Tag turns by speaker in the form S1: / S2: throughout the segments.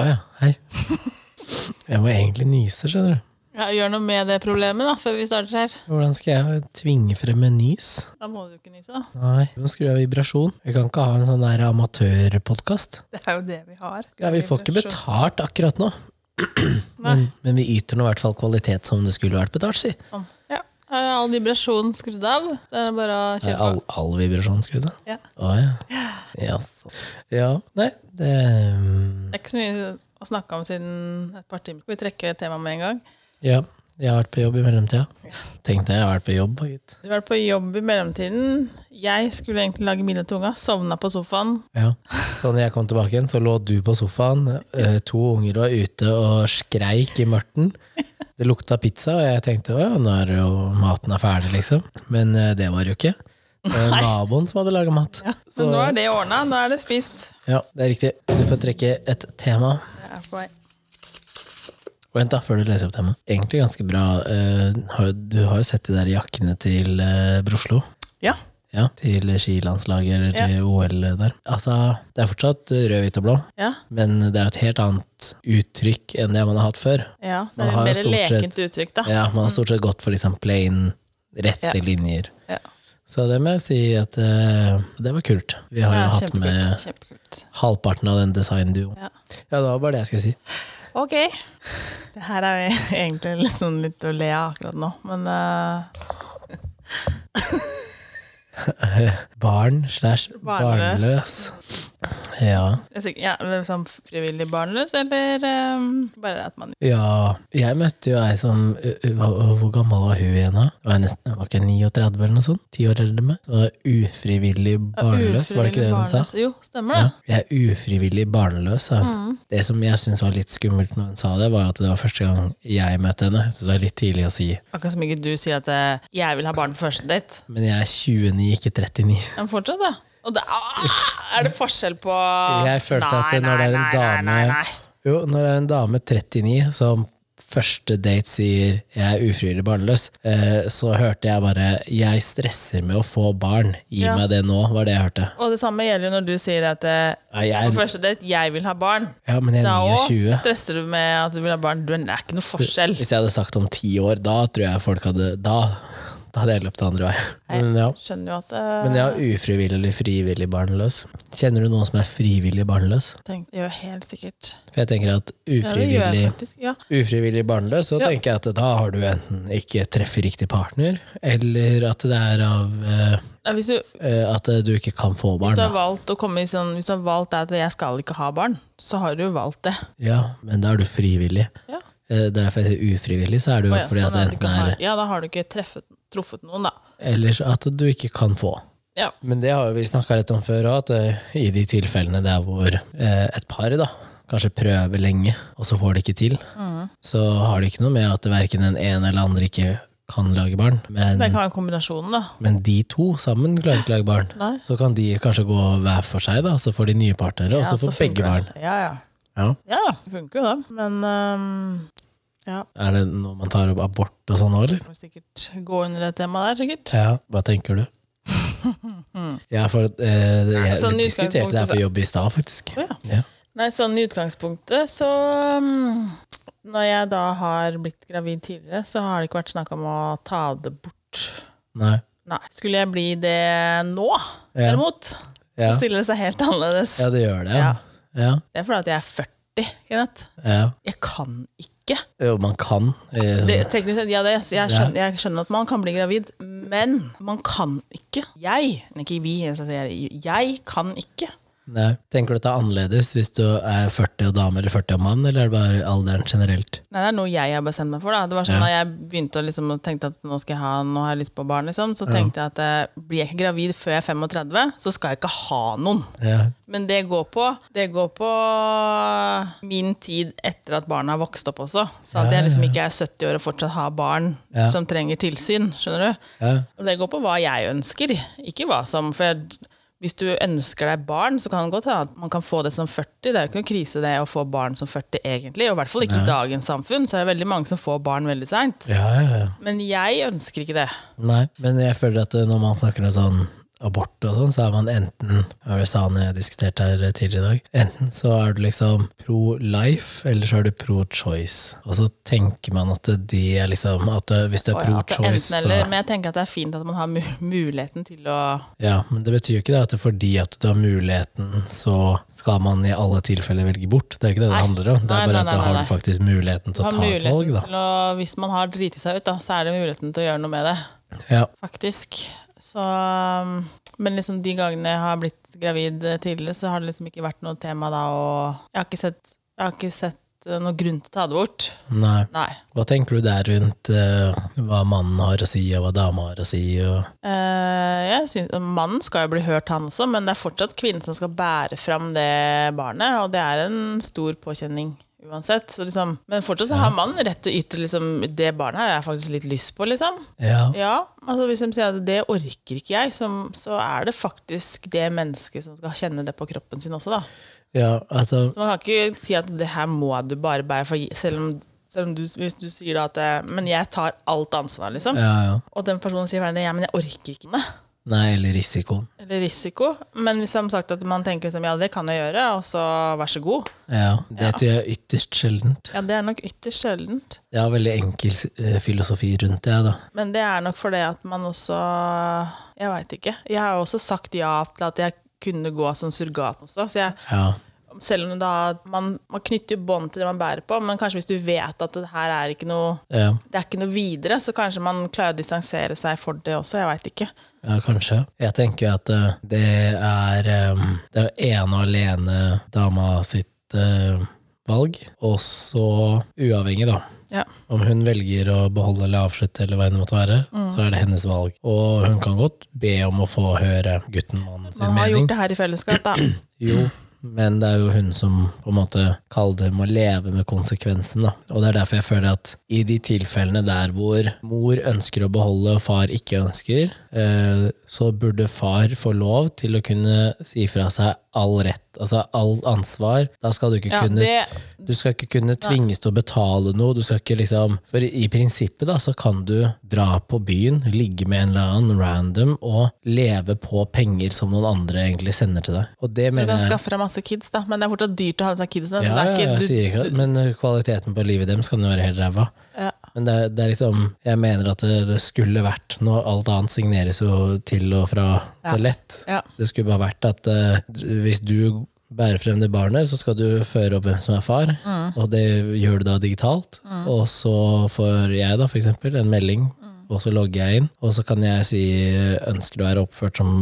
S1: Å ja, hei. Jeg må egentlig nyse, skjønner du.
S2: Ja, gjør noe med det problemet da, før vi starter her.
S1: Hvordan skal jeg tvinge frem en nys?
S2: Da må du ikke nyse. da.
S1: Nei, nå skrur jeg vibrasjon. Vi kan ikke ha en sånn der amatørpodkast.
S2: Det er jo det vi har.
S1: Ja, vi får ikke betalt akkurat nå, men, men vi yter nå i hvert fall kvalitet som det skulle vært betalt, si.
S2: Sånn. Ja. Her er all vibrasjon skrudd av. Så er det bare å
S1: Er
S2: kjøre på.
S1: all, all vibrasjon skrudd av?
S2: Ja.
S1: Å ja. Jaså. Ja. Nei, det mm,
S2: Det er ikke så mye å snakke om siden et par timer. Skal vi trekke temaet med en gang?
S1: Ja. Jeg har vært på jobb i mellomtida. Tenkte jeg har vært på jobb, gitt.
S2: Du har vært på jobb i mellomtiden. Jeg skulle egentlig lage middag til unga. Sovna på sofaen.
S1: Ja. Så når jeg kom tilbake igjen, så lå du på sofaen. eh, To unger var ute og skreik i mørten. Det lukta pizza, og jeg tenkte å, nå er det jo maten er ferdig, liksom. Men eh, det var det jo ikke. Det var naboen som hadde laga mat.
S2: Så
S1: Så-
S2: nå er det ordna. Nå er det spist.
S1: Ja, det er riktig. Du får trekke et tema.
S2: Jeg er på vei.
S1: Vent, da, før du leser opp temaet. Egentlig ganske bra. eh, har- Du har jo sett de der jakkene til eh, Broslo.
S2: Ja.
S1: Ja, til skilandslaget eller til OL der. Altså, det er fortsatt eh, rød, hvit og blå,
S2: Ja.
S1: men det er jo et helt annet uttrykk enn det man har hatt før.
S2: ja. Det
S1: Man
S2: er
S1: har jo
S2: et mer
S1: stort sett-
S2: lekent uttrykk, da.
S1: Ja, man har stort sett gått for liksom plain, rette
S2: Ah, mm. Ja.
S1: linjer.
S2: Ja.
S1: Så det må jeg si at eh, det var kult. Vi har
S2: Ja,
S1: jo hatt med
S2: kjempekult. Kjempekult.
S1: halvparten av den designduoen.
S2: Ja.
S1: Ja, det var bare det jeg skulle si.
S2: Ok. Det her er jo egentlig litt, sånn litt å le av akkurat nå, men eh,
S1: Barn slash
S2: Barnløs.
S1: barnløs. Ja.
S2: jeg er sikker- ja, eller sånn frivillig barnløs, eller eh, bare at man
S1: Ja, jeg møtte jo ei som ø, ø, hva- Hvor gammel var hun igjen da? Hun var, nesten, hun var ikke 39 eller noe sånt? 10 år eldre enn meg? Hun var ufrivillig barnløs, var det ikke det hun sa?
S2: Ufrivillig barnløs. Jo, stemmer
S1: Ja,
S2: det.
S1: jeg er ufrivillig barnløs, sa
S2: Mm.
S1: hun. Det som jeg syntes var litt skummelt når hun sa det, var jo at det var første gang jeg møtte henne. Så det var litt tidlig å si.
S2: Akkurat som ikke du sier at eh, 'jeg vil ha barn på første date'.
S1: Men jeg er 29, ikke 39.
S2: Men fortsatt, da. Og det, ah, er det forskjell på
S1: Jeg følte at
S2: Ah, Nei,
S1: når det er en
S2: nei, nei, nei,
S1: dame-
S2: nei.
S1: Jo, når det er en dame 39 som første date sier 'jeg er ufrivillig barnløs', eh, så hørte jeg bare 'jeg stresser med å få barn', gi
S2: Ja.
S1: meg det nå, var det jeg hørte.
S2: Og det samme gjelder jo når du sier at eh,
S1: Nei, jeg
S2: på
S1: er,
S2: første date 'jeg vil ha barn'.
S1: ja, men jeg
S2: Da
S1: er
S2: òg
S1: 29.
S2: stresser du med at du vil ha barn. Du, det er ikke noe forskjell.
S1: Hvis jeg hadde sagt om ti år, da tror jeg folk hadde Da, da hadde jeg løpt andre veien. Men ja.
S2: Skjønner jo at eh,
S1: Men jeg er ufrivillig eller frivillig barnløs. Kjenner du noen som er frivillig barnløs?
S2: Tenk, det gjør helt sikkert.
S1: For jeg tenker at
S2: Ja, det gjør
S1: ufrivillig
S2: jeg faktisk. Ja.
S1: ufrivillig barnløs, så
S2: Ja.
S1: tenker jeg at da har du enten ikke treffer riktig partner, eller at det er av eh,
S2: Nei, Hvis, du,
S1: eh, at du ikke kan få
S2: hvis
S1: barn.
S2: du har
S1: Da.
S2: valgt å komme i sånn Hvis du har valgt det at jeg skal ikke ha barn, så har du jo valgt det.
S1: Ja, men da er du frivillig.
S2: Ja,
S1: Eh, det er derfor jeg sier ufrivillig, så er det jo
S2: Å ja,
S1: fordi
S2: sånn
S1: at det
S2: du
S1: enten
S2: kan ha-
S1: er
S2: ja da har du ikke treffet, truffet noen, da.
S1: Eller så at du ikke kan få.
S2: Ja.
S1: Men det har jo vi snakka litt om før òg, at eh, i de tilfellene der hvor eh, et par da kanskje prøver lenge, og så får de ikke til,
S2: Mm.
S1: så har det ikke noe med at verken den ene eller andre ikke kan lage barn. Men
S2: Det kan være kombinasjonen, da.
S1: Men de to sammen klarer ikke å lage barn.
S2: Nei.
S1: Så kan de kanskje gå hver for seg, da. Så får de nye partnere, og
S2: Ja,
S1: så får
S2: funker
S1: begge barn.
S2: det. Ja, ja.
S1: Ja.
S2: Ja, det funker jo, det. Men ehm, øhm, ja,
S1: Er det noe man tar opp abort og sånn òg, eller?
S2: må sikkert gå under det temaet der, sikkert.
S1: Ja. Hva tenker du? Ja, for eh, jeg
S2: Sånn i
S1: diskuterte det her
S2: utgangspunktet Mm. så-
S1: på jobb i stad, faktisk.
S2: Å, ja.
S1: Ja.
S2: Nei, sånn i utgangspunktet så um, Når jeg da har blitt gravid tidligere, så har det ikke vært snakk om å ta det bort.
S1: Nei.
S2: Nei. Skulle jeg bli det nå,
S1: Ja.
S2: derimot,
S1: Ja.
S2: så stiller det seg helt annerledes.
S1: ja, det gjør det. Ja. Ja.
S2: Det er fordi at jeg er 40, Kenneth.
S1: ja.
S2: Jeg kan ikke.
S1: Jo, man kan. eh,
S2: Det, teknisk sett, ja, det, jeg, skjønner, jeg skjønner at man kan bli gravid, men man kan ikke. Jeg, men ikke vi, jeg, sier jeg, jeg kan ikke.
S1: Nei. Tenker du at det er annerledes hvis du er 40 og dame eller 40 og mann, eller er det bare alderen generelt?
S2: Nei, det er noe jeg har bestemt meg for. da. Det var sånn Da jeg begynte å liksom, og tenkte at nå skal jeg ha, nå har jeg lyst på barn, liksom, så tenkte jeg at eh, blir jeg ikke gravid før jeg er 35, så skal jeg ikke ha noen.
S1: Ja.
S2: Men det går på, det går på min tid etter at barna har vokst opp også. Så at jeg liksom ikke er 70 år og fortsatt har barn
S1: Ja.
S2: som trenger tilsyn. skjønner du?
S1: ja.
S2: Og det går på hva jeg ønsker, ikke hva som For jeg, hvis du ønsker deg barn, så kan det godt hende at man kan få det som 40. Det er jo ikke noen krise det å få barn som 40, egentlig. Og i hvert fall ikke i dagens samfunn, så er det veldig mange som får barn veldig seint.
S1: ja, ja, ja.
S2: Men jeg ønsker ikke det.
S1: Nei, men jeg føler at eh, når man snakker om sånn abort og sånn, så er man enten Har du Sane jeg diskuterte her eh, tidligere i dag? Enten så er du liksom pro life, eller så er du pro choice. Og så tenker man at de er liksom at du- Hvis du er
S2: Og ja,
S1: pro
S2: at det er
S1: choice,
S2: enten
S1: så
S2: eller, men jeg tenker at det er fint at man har mu- muligheten til å
S1: Ja, men det betyr jo ikke det at fordi at du har muligheten, så skal man i alle tilfeller velge bort. Det er jo ikke det det
S2: Nei.
S1: handler om. Det
S2: Nei,
S1: er bare
S2: nei,
S1: at
S2: nei,
S1: da har
S2: nei,
S1: du faktisk muligheten til
S2: ha
S1: å ta et valg,
S2: muligheten
S1: da.
S2: til å Hvis man har driti seg ut, da, så er det muligheten til å gjøre noe med det,
S1: Ja,
S2: faktisk. Så um, Men liksom de gangene jeg har blitt gravid eh, tidligere, så har det liksom ikke vært noe tema da, og jeg har ikke sett, jeg har ikke sett eh, noen grunn til å ta det bort.
S1: nei.
S2: Nei.
S1: Hva tenker du der rundt eh, hva mannen har å si, og hva dama har å si? Og...
S2: Eh, jeg synes, mannen skal jo bli hørt, han også, men det er fortsatt kvinnen som skal bære fram det barnet, og det er en stor påkjenning. Uansett, så liksom, Men fortsatt så har mannen rett til å yte liksom, det barnet her har jeg faktisk litt lyst på. liksom.
S1: Ja,
S2: Ja, altså Hvis de sier at det orker ikke jeg, som, så er det faktisk det mennesket som skal kjenne det på kroppen sin også. da.
S1: ja, altså
S2: Så man kan ikke si at det her må du bare bære, for selv om, selv om du, hvis du sier da at eh, Men jeg tar alt ansvar, liksom.
S1: Ja, ja.
S2: Og den personen sier gjerne ja, men jeg orker ikke det
S1: Nei, eller risikoen.
S2: eller risiko. Men hvis de har sagt at man tenker liksom, ja, det kan jeg gjøre, og så vær så god.
S1: Ja, det tror jeg er ytterst sjeldent.
S2: Ja, det er nok ytterst sjeldent.
S1: Jeg har veldig enkel eh, filosofi rundt det, da.
S2: Men det er nok fordi at man også Jeg veit ikke. Jeg har jo også sagt ja til at jeg kunne gå som surrogat også. Så jeg,
S1: Ja,
S2: selv om da man, man knytter jo bånd til det man bærer på, men kanskje hvis du vet at det her er ikke noe
S1: ja.
S2: det er ikke noe videre, så kanskje man klarer å distansere seg for det også. Jeg veit ikke.
S1: Ja, kanskje. Jeg tenker jo at eh, det er eh, Det er ene og alene dama sitt eh, valg, og så uavhengig, da.
S2: Ja.
S1: Om hun velger å beholde eller avslutte, eller hva enn det måtte være,
S2: Mm.
S1: så er det hennes valg. Og hun kan godt be om å få høre gutten mannen sin
S2: Man har
S1: mening.
S2: gjort det her i fellesskap, da.
S1: Jo, men det er jo hun som på en måte kaller det må leve med konsekvensen. Da. Og det er derfor jeg føler at i de tilfellene der hvor mor ønsker å beholde og far ikke ønsker, eh, så burde far få lov til å kunne si fra seg all rett, altså all ansvar. Da skal du ikke
S2: Ja,
S1: kunne
S2: det,
S1: du skal ikke kunne tvinges til å betale noe. Du skal ikke liksom, for i prinsippet da, så kan du dra på byen, ligge med en eller annen random og leve på penger som noen andre egentlig sender til deg. Og det
S2: Du kan
S1: mener jeg
S2: skaffe deg masse kids, da, men det er fortsatt dyrt å ha disse kidsene.
S1: ja,
S2: så altså, det er
S1: ja,
S2: ikke,
S1: jeg
S2: du,
S1: sier ikke det, men uh, kvaliteten på livet deres kan jo være helt ræva.
S2: Ja.
S1: Men det, er- det er liksom, jeg mener at det, det skulle vært noe, alt annet signeres jo til og fra
S2: Ja.
S1: så lett.
S2: Ja.
S1: Det skulle bare vært at eh, du- hvis du bærer frem det barnet, så skal du føre opp hvem som er far,
S2: Mm.
S1: og det gjør du da digitalt. Og så får jeg da for eksempel en melding,
S2: Mm.
S1: og så logger jeg inn, og så kan jeg si ønsker du å være oppført som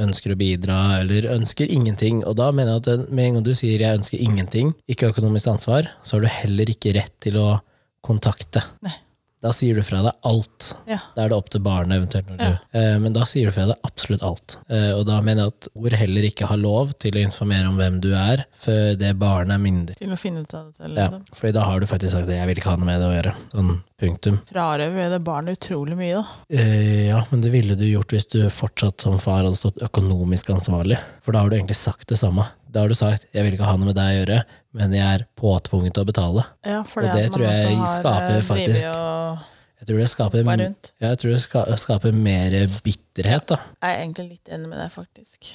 S1: ønsker å bidra, eller ønsker ingenting. Og da mener jeg at den- med en gang du sier jeg ønsker ingenting, ikke økonomisk ansvar, så har du heller ikke rett til å kontakte.
S2: Nei.
S1: Da sier du fra deg alt.
S2: Ja.
S1: Da er det opp til barnet eventuelt. Når du, eh, men da sier du fra deg absolutt alt. Eh, og da mener jeg at ord heller ikke har lov til å informere om hvem du er, før det barnet er myndig.
S2: til å finne ut av det selv.
S1: Ja,
S2: Liksom.
S1: fordi da har du faktisk sagt at 'jeg vil ikke ha noe med det å gjøre'. Sånn punktum.
S2: Frarøver jo det barnet utrolig mye, da.
S1: Eh, ja, men det ville du gjort hvis du fortsatt som far hadde stått økonomisk ansvarlig. For da har du egentlig sagt det samme. Da har du sagt 'jeg vil ikke ha noe med deg å gjøre', men jeg er påtvunget til å betale.
S2: Ja, for
S1: Og det tror jeg skaper
S2: eh,
S1: faktisk-
S2: og
S1: Jeg tror det skaper,
S2: Hoppa rundt.
S1: Ja, jeg tror det ska- skaper mer bitterhet, da.
S2: Jeg er egentlig litt enig med deg, faktisk.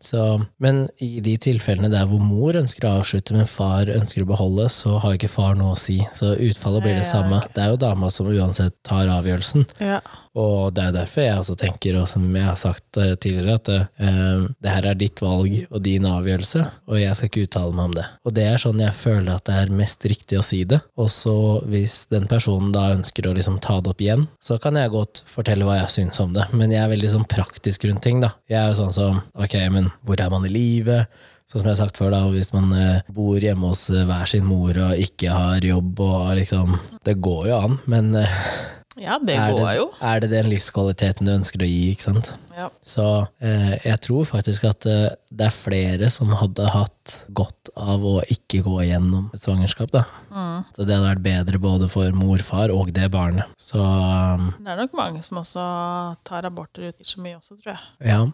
S1: Så, men i de tilfellene der hvor mor ønsker å avslutte, men far ønsker å beholde, så har ikke far noe å si. Så utfallet blir
S2: Nei,
S1: det
S2: ja,
S1: samme.
S2: ok.
S1: Det er jo dama som uansett tar avgjørelsen.
S2: Ja.
S1: Og det er derfor jeg også tenker, og som jeg har sagt eh, tidligere, at eh, det her er ditt valg og din avgjørelse, og jeg skal ikke uttale meg om det. Og det er sånn jeg føler at det er mest riktig å si det. Og så hvis den personen da ønsker å liksom ta det opp igjen, så kan jeg godt fortelle hva jeg syns om det, men jeg er veldig sånn praktisk rundt ting, da. Jeg er jo sånn som ok, men hvor er man i livet? Sånn som jeg har sagt før, da, hvis man eh, bor hjemme hos eh, hver sin mor og ikke har jobb og liksom Det går jo an, men eh,
S2: ja, det
S1: er
S2: går
S1: det,
S2: jo.
S1: Er det den livskvaliteten du ønsker å gi, ikke sant?
S2: Ja.
S1: Så eh, jeg tror faktisk at eh, det er flere som hadde hatt godt av å ikke gå igjennom et svangerskap, da.
S2: Mm.
S1: Så det hadde vært bedre både for mor, far og det barnet. Så um,
S2: Det er nok mange som også tar aborter ut så mye også, tror jeg.
S1: eh, ja.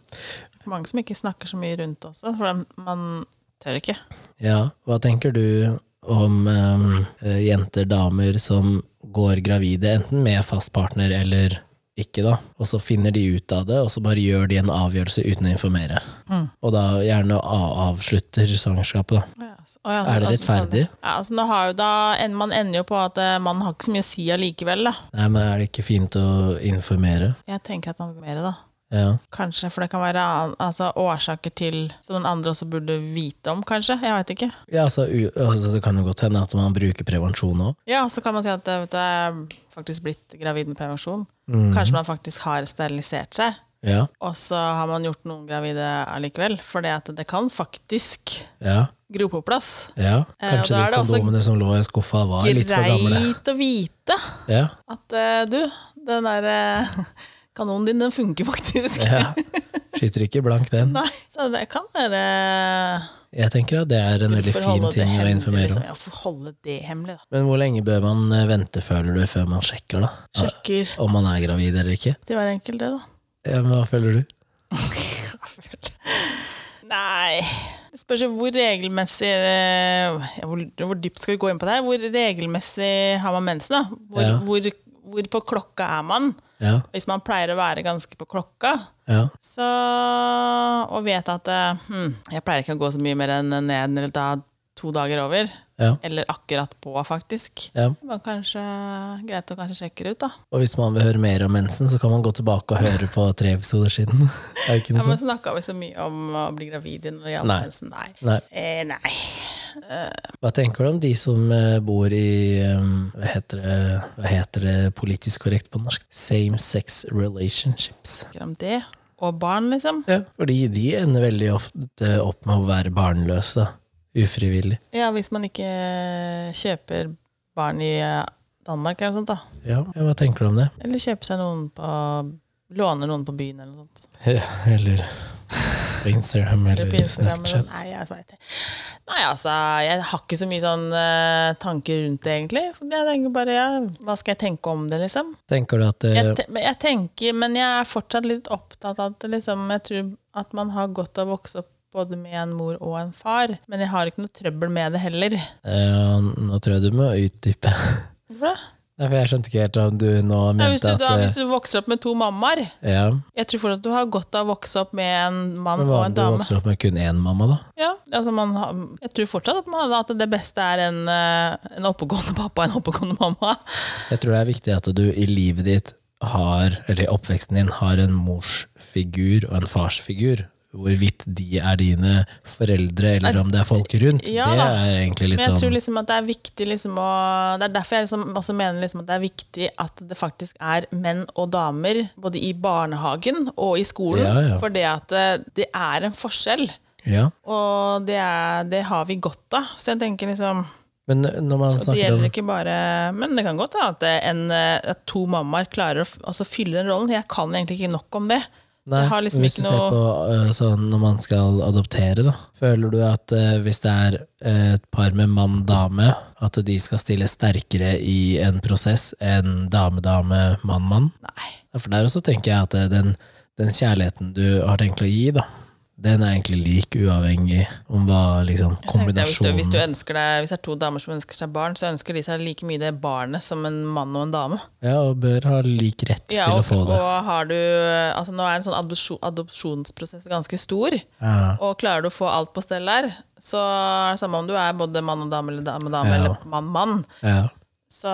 S2: Mange som ikke snakker så mye rundt også, for dem- man tør ikke.
S1: ja. Hva tenker du om ehm, um, eh, jenter, damer som går gravide, enten med fast partner eller ikke, da. Og så finner de ut av det, og så bare gjør de en avgjørelse uten å informere.
S2: Mm.
S1: Og da gjerne a- avslutter svangerskapet, da.
S2: Ja, altså. Å, ja,
S1: Er det
S2: altså, sånn.
S1: rettferdig?
S2: Ja, altså, nå har jo da, en- man ender jo på at eh, man har ikke så mye å si allikevel. Da.
S1: Nei, men er det ikke fint å informere?
S2: Jeg tenker at man vil mer, da.
S1: Ja.
S2: Kanskje, for det kan være an- altså, årsaker til som den andre også burde vite om, kanskje. Jeg veit ikke.
S1: ja altså, u altså, det kan jo godt hende at man bruker prevensjon òg.
S2: Ja, så kan man si at eh, vet du, jeg er faktisk blitt gravid med prevensjon.
S1: Mm.
S2: Kanskje man faktisk har sterilisert seg,
S1: Ja,
S2: og så har man gjort noen gravide allikevel. For det, at det kan faktisk
S1: ja,
S2: gro på plass.
S1: ja.
S2: Eh, og
S1: Kanskje
S2: da er
S1: de
S2: det også
S1: kondomene som lå i skuffa, var litt for gamle.
S2: Greit å vite
S1: Ja,
S2: at eh, du, den der eh, kanonen din, den funker faktisk.
S1: ja. Skyter ikke blank den.
S2: Nei, så det kan være
S1: Jeg tenker at det er en veldig
S2: Hvorfor holde
S1: fin
S2: det
S1: ting å
S2: hemmelig,
S1: informere om.
S2: liksom? Ja, for holde det hemmelig, da.
S1: Men hvor lenge bør man eh, vente, føler du, før man sjekker, da?
S2: Sjekker
S1: Om man er gravid eller ikke?
S2: til hver enkelt, det, da.
S1: Ja, men hva føler du?
S2: Nei Det spørs jo hvor regelmessig eh, ja, hvor, hvor dypt skal vi gå inn på det her? Hvor regelmessig har man mensen? da? Hvor,
S1: Ja.
S2: hvor, hvor på klokka er man?
S1: Ja,
S2: Hvis man pleier å være ganske på klokka,
S1: ja,
S2: så, og vet at eh, hm, jeg pleier ikke å gå så mye mer enn ned eller da to dager over,
S1: ja.
S2: eller akkurat på, faktisk.
S1: ja.
S2: Det var kanskje greit å kanskje sjekke det ut, da.
S1: Og hvis man vil høre mer om mensen, så kan man gå tilbake og høre på tre episoder siden. Er det ikke
S2: Ja,
S1: noe
S2: men
S1: sånt?
S2: snakka vi så mye om å bli gravid når det gjaldt
S1: Nei.
S2: mensen? Nei.
S1: Nei.
S2: Eh, nei.
S1: Hva tenker du om de som eh, bor i um, hva, heter det, hva heter det politisk korrekt på norsk? Same sex relationships.
S2: snakker om det. Og barn, liksom.
S1: Ja, fordi de ender veldig ofte opp med å være barnløse. da. Ufrivillig.
S2: Ja, hvis man ikke kjøper barn i eh, Danmark eller noe sånt, da.
S1: Ja, ja, hva tenker du om det?
S2: Eller kjøper seg noen på Låner noen på byen eller noe sånt.
S1: Ja, eller på Instagram eller,
S2: Eller på Instagram. Eller,
S1: Snapchat.
S2: nei, jeg vet ikke. Nei, altså, jeg har ikke så mye sånn eh, tanker rundt det, egentlig. Jeg tenker bare, ja, hva skal jeg tenke om det, liksom?
S1: Tenker du at eh,
S2: Jeg, te men jeg tenker, men jeg er fortsatt litt opptatt av at liksom, jeg tror at man har godt av å vokse opp både med en mor og en far. Men jeg har ikke noe trøbbel med det heller.
S1: eh, Nå tror jeg du må utdype.
S2: Hvorfor det?
S1: Nei, for jeg skjønte ikke helt om du nå
S2: Ja, hvis,
S1: mente
S2: du,
S1: at
S2: da,
S1: eh,
S2: hvis du vokser opp med to mammaer
S1: Ja,
S2: Jeg tror fortsatt du har godt av å vokse opp med en mann
S1: men
S2: og
S1: hva om
S2: en
S1: du
S2: dame.
S1: vokser opp med kun én mamma, da?
S2: Ja, altså man, har- jeg tror fortsatt at, man, at det beste er en, eh, en oppegående pappa og en oppegående mamma.
S1: Jeg tror det er viktig at du i livet ditt har, eller i oppveksten din, har en morsfigur og en farsfigur. Hvorvidt de er dine foreldre, eller om det er folk rundt,
S2: Ja,
S1: det
S2: da.
S1: er egentlig litt
S2: Men jeg tror
S1: sånn
S2: liksom at det er viktig liksom å Det er derfor jeg liksom også mener liksom at det er viktig at det faktisk er menn og damer både i barnehagen og i skolen.
S1: Ja, ja.
S2: For det at eh, det er en forskjell,
S1: Ja.
S2: og det, er, det har vi godt av. Så jeg tenker liksom
S1: Men når man
S2: Det
S1: snakker om
S2: gjelder ikke bare Men det kan godt hende at, en, eh, at to mammaer klarer å f- altså, fylle den rollen. Jeg kan egentlig ikke nok om det. Så
S1: Nei,
S2: jeg har liksom
S1: hvis
S2: ikke
S1: du
S2: noe
S1: ser på øh, sånn når man skal adoptere, da, føler du at øh, hvis det er øh, et par med mann-dame, at de skal stille sterkere i en prosess enn dame-dame-mann-mann?
S2: Nei.
S1: For der også tenker jeg at øh, den, den kjærligheten du har tenkt å gi, da, den er egentlig lik uavhengig om hva liksom,
S2: tenkte jeg, Hvis du,
S1: kombinasjonen
S2: hvis, du ønsker deg, hvis det er to damer som ønsker seg barn, så ønsker de seg like mye det barnet som en mann og en dame.
S1: Ja, og bør ha lik rett
S2: Ja,
S1: til
S2: og,
S1: å få det.
S2: og har du altså Nå er en sånn adopsjon, adopsjonsprosess ganske stor,
S1: Ja.
S2: og klarer du å få alt på stell der, så er det samme om du er både mann og dame eller dame og dame
S1: Ja.
S2: eller mann mann.
S1: Ja,
S2: Så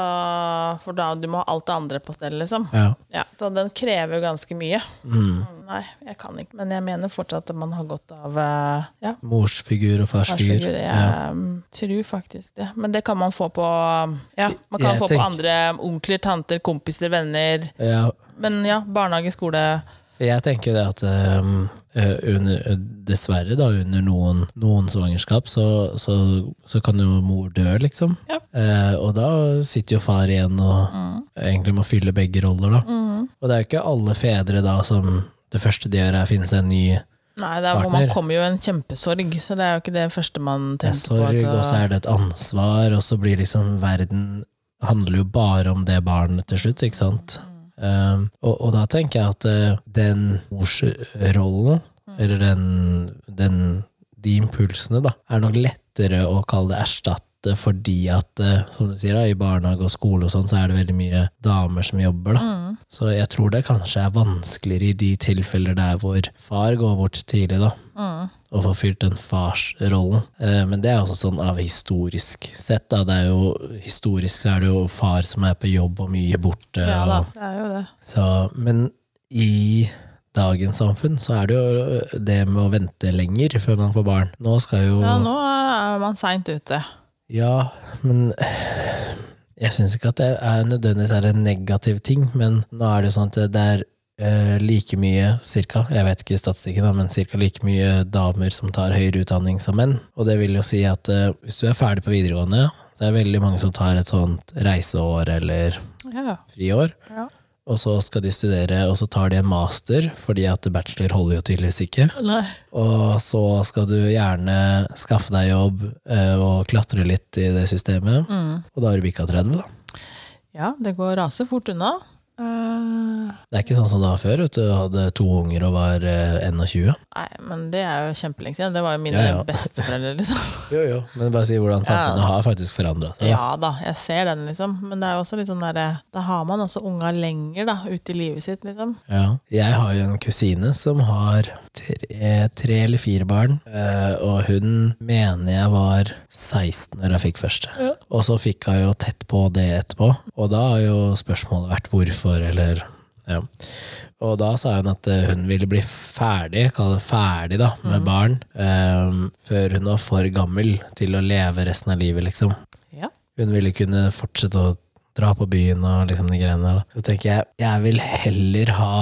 S2: For da du må ha alt det andre på stell, liksom.
S1: ja.
S2: Ja, Så den krever jo ganske mye.
S1: Mm.
S2: Mm, Nei, jeg kan ikke. Men jeg mener fortsatt at man har godt av eh, ja,
S1: Morsfigur og farsfigur.
S2: farsfigur. Jeg eh, tror faktisk det. Men det kan man få på Ja, man kan
S1: Jeg
S2: få
S1: tenker-
S2: på andre onkler, tanter, kompiser, venner.
S1: Ja. ja,
S2: Men ja, barnehage, skole
S1: For jeg tenker jo det at øhm, øh, under, øh, dessverre da, under noen, noen svangerskap, så, så, så kan jo mor dø, liksom.
S2: Ja.
S1: Eh, og da sitter jo far igjen og egentlig må fylle begge roller, da. Og det er jo ikke alle fedre da som det første de gjør, er å finne seg en ny
S2: Nei, det er, hvor
S1: Partner.
S2: man kommer jo i en kjempesorg, så det er jo ikke det første man tenker
S1: sorg,
S2: på.
S1: og så
S2: Altså.
S1: er det et ansvar, og så blir liksom verden handler jo bare om det barnet til slutt, ikke sant? Um, og, og da tenker jeg at eh, den morsrollen, eller den, den de impulsene, da, er nok lettere å kalle det erstatte ofte fordi at, eh, som du sier, da, i barnehage og skole og sånn, så er det veldig mye damer som jobber, da. Så jeg tror det kanskje er vanskeligere i de tilfeller der hvor far går bort tidlig, da.
S2: Mm.
S1: Og får fylt den farsrollen. Eh, Men det er også sånn av historisk sett, da. Det er jo, historisk så er det jo far som er på jobb og mye borte.
S2: Ja da,
S1: og,
S2: det er jo det.
S1: så, men i dagens samfunn så er det jo det med å vente lenger før man får barn. Nå skal jo
S2: Ja,
S1: Ja,
S2: nå eh, er man seint ute.
S1: men jeg syns ikke at det er nødvendigvis er en negativ ting, men nå er det jo sånn at det er eh, like mye, cirka, jeg vet ikke statistikken, da, men cirka like mye damer som tar høyere utdanning som menn. Og det vil jo si at eh, hvis du er ferdig på videregående, så er det veldig mange som tar et sånt reiseår eller
S2: Ja,
S1: friår.
S2: ja.
S1: Og så skal de studere, og så tar de en master, fordi at bachelor holder jo tydeligvis ikke.
S2: Nei.
S1: Og så skal du gjerne skaffe deg jobb eh, og klatre litt i det systemet.
S2: Mm.
S1: Og da har du bikka 30, da.
S2: ja det går rasende fort unna. Eh,
S1: Det er ikke sånn som det var før, vet du. Du hadde to unger og var eh, 21.
S2: nei, men det er jo kjempelenge siden. Det var jo mine
S1: Ja, ja.
S2: besteforeldre, liksom.
S1: Jo, jo. Men bare si hvordan samfunnet
S2: Ja.
S1: har faktisk forandra seg. da.
S2: Ja da, jeg ser den, liksom. Men det er jo også litt sånn derre Da har man også unga lenger, da, ut i livet sitt, liksom.
S1: Ja. Jeg har jo en kusine som har tre, tre eller fire barn, eh, og hun mener jeg var 16 når jeg fikk første.
S2: Ja.
S1: Og så fikk hun jo tett på det etterpå, og da har jo spørsmålet vært hvorfor, eller ja. Og da sa hun at eh, hun ville bli ferdig, kall det ferdig da, med barn, eh, før hun var for gammel til å leve resten av livet, liksom
S2: Ja.
S1: hun ville kunne fortsette å dra på byen og liksom de greiene der. da. Så tenker jeg, jeg vil heller ha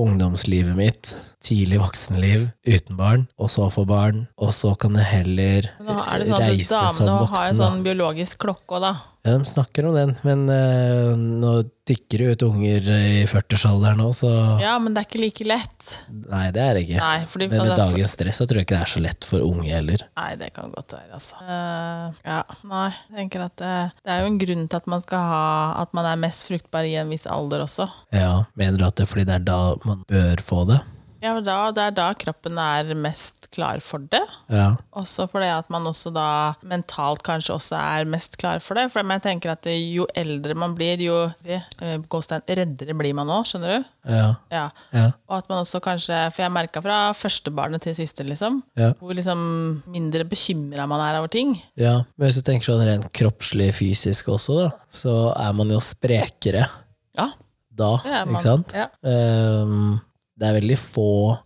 S1: ungdomslivet mitt, tidlig voksenliv, uten barn, og så få barn, og så kan jeg heller
S2: Men nå er det sånn at
S1: reise som
S2: damene har
S1: voksen.
S2: en
S1: da.
S2: sånn biologisk klokke òg, da.
S1: Ja, de snakker om den, men eh, nå tikker det ut unger i 40-årsalderen nå, så
S2: Ja, men det er ikke like lett.
S1: Nei, det er det ikke.
S2: Nei, fordi,
S1: Men med
S2: altså,
S1: dagens stress så tror jeg ikke det er så lett for unge heller.
S2: Nei, det kan godt være, altså. Eh, ja, nei, jeg tenker at eh, Det er jo en grunn til at man skal ha At man er mest fruktbar i en viss alder også.
S1: Ja, Mener du at det er fordi det er da man bør få det?
S2: Ja, men da, Det er da kroppen er mest klar for det.
S1: Ja.
S2: Også fordi at man også da mentalt kanskje også er mest klar for det. For jeg tenker at eh, jo eldre man blir, jo eh, gåstein, reddere blir man òg, skjønner du?
S1: Ja.
S2: Ja.
S1: Ja.
S2: Og at man også kanskje, for jeg merka fra første barnet til siste, liksom,
S1: Ja.
S2: hvor liksom mindre bekymra man er over ting.
S1: Ja, men hvis du tenker sånn rent kroppslig fysisk også, da, så er man jo sprekere
S2: Ja,
S1: da,
S2: det er man.
S1: ikke sant?
S2: Ja.
S1: Ehm, det er veldig få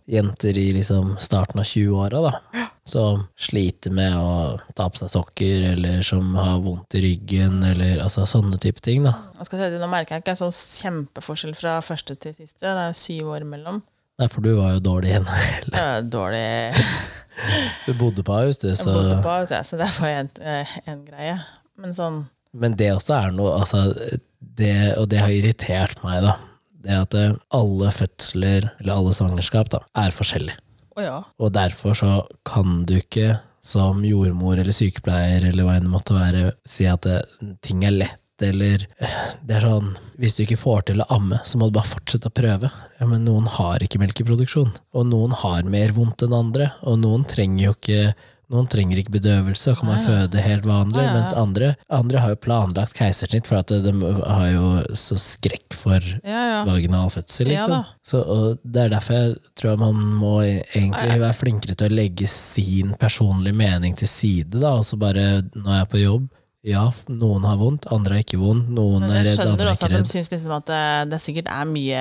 S1: jenter i liksom starten av 20-åra da, som sliter med å ta på seg sokker, eller som har vondt i ryggen, eller altså sånne type ting. da.
S2: Jeg skal si det, nå merker jeg ikke en sånn kjempeforskjell fra første til siste. Det er jo syv år imellom.
S1: Nei, for du var jo dårlig henne.
S2: Det er jo dårlig
S1: Du bodde på Ahus, du,
S2: jeg bodde
S1: så
S2: på, så, jeg, så det var en, eh, en greie. Men sånn
S1: Men det også er noe altså, det, Og det har irritert meg, da. Det at eh, alle fødsler, eller alle svangerskap, da, er forskjellig.
S2: Å ja.
S1: Og derfor så kan du ikke som jordmor eller sykepleier eller hva enn det måtte være, si at eh, ting er lett. Eller eh, det er sånn Hvis du ikke får til å amme, så må du bare fortsette å prøve. Ja, men noen har ikke melkeproduksjon, og noen har mer vondt enn andre, og noen trenger jo ikke noen trenger ikke bedøvelse og kan bare føde helt vanlig,
S2: Ja, ja.
S1: mens andre, andre har jo planlagt keisersnitt, for at de har jo så skrekk for
S2: Ja, ja.
S1: vaginal fødsel,
S2: Ja
S1: liksom.
S2: da.
S1: så, og det er derfor jeg tror man må e- egentlig være flinkere til å legge sin personlige mening til side, da, og så bare når jeg er på jobb ja, f- noen har vondt, andre har ikke vondt, noen
S2: Men
S1: er
S2: jeg
S1: redd,
S2: skjønner
S1: andre er
S2: også
S1: ikke
S2: at de
S1: redd.
S2: syns liksom at det, det sikkert er mye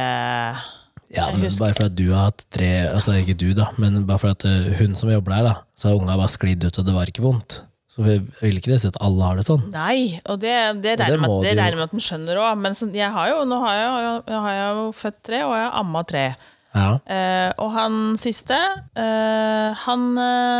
S1: Ja,
S2: jeg
S1: men
S2: husker-
S1: bare for at du har hatt tre, altså ikke du da, men bare for at ø, hun som jobber der da, så har unga bare sklidd ut og det var ikke vondt. Så vi vil ikke det si at alle har det sånn.
S2: Nei, og det, det regner
S1: det
S2: med
S1: må
S2: at- det
S1: du-
S2: regner med at den skjønner òg. Men sånn, jeg har jo, nå har jeg, jo- jeg har jo født tre, og jeg har amma tre.
S1: Ja,
S2: Eh, og han siste eh, Han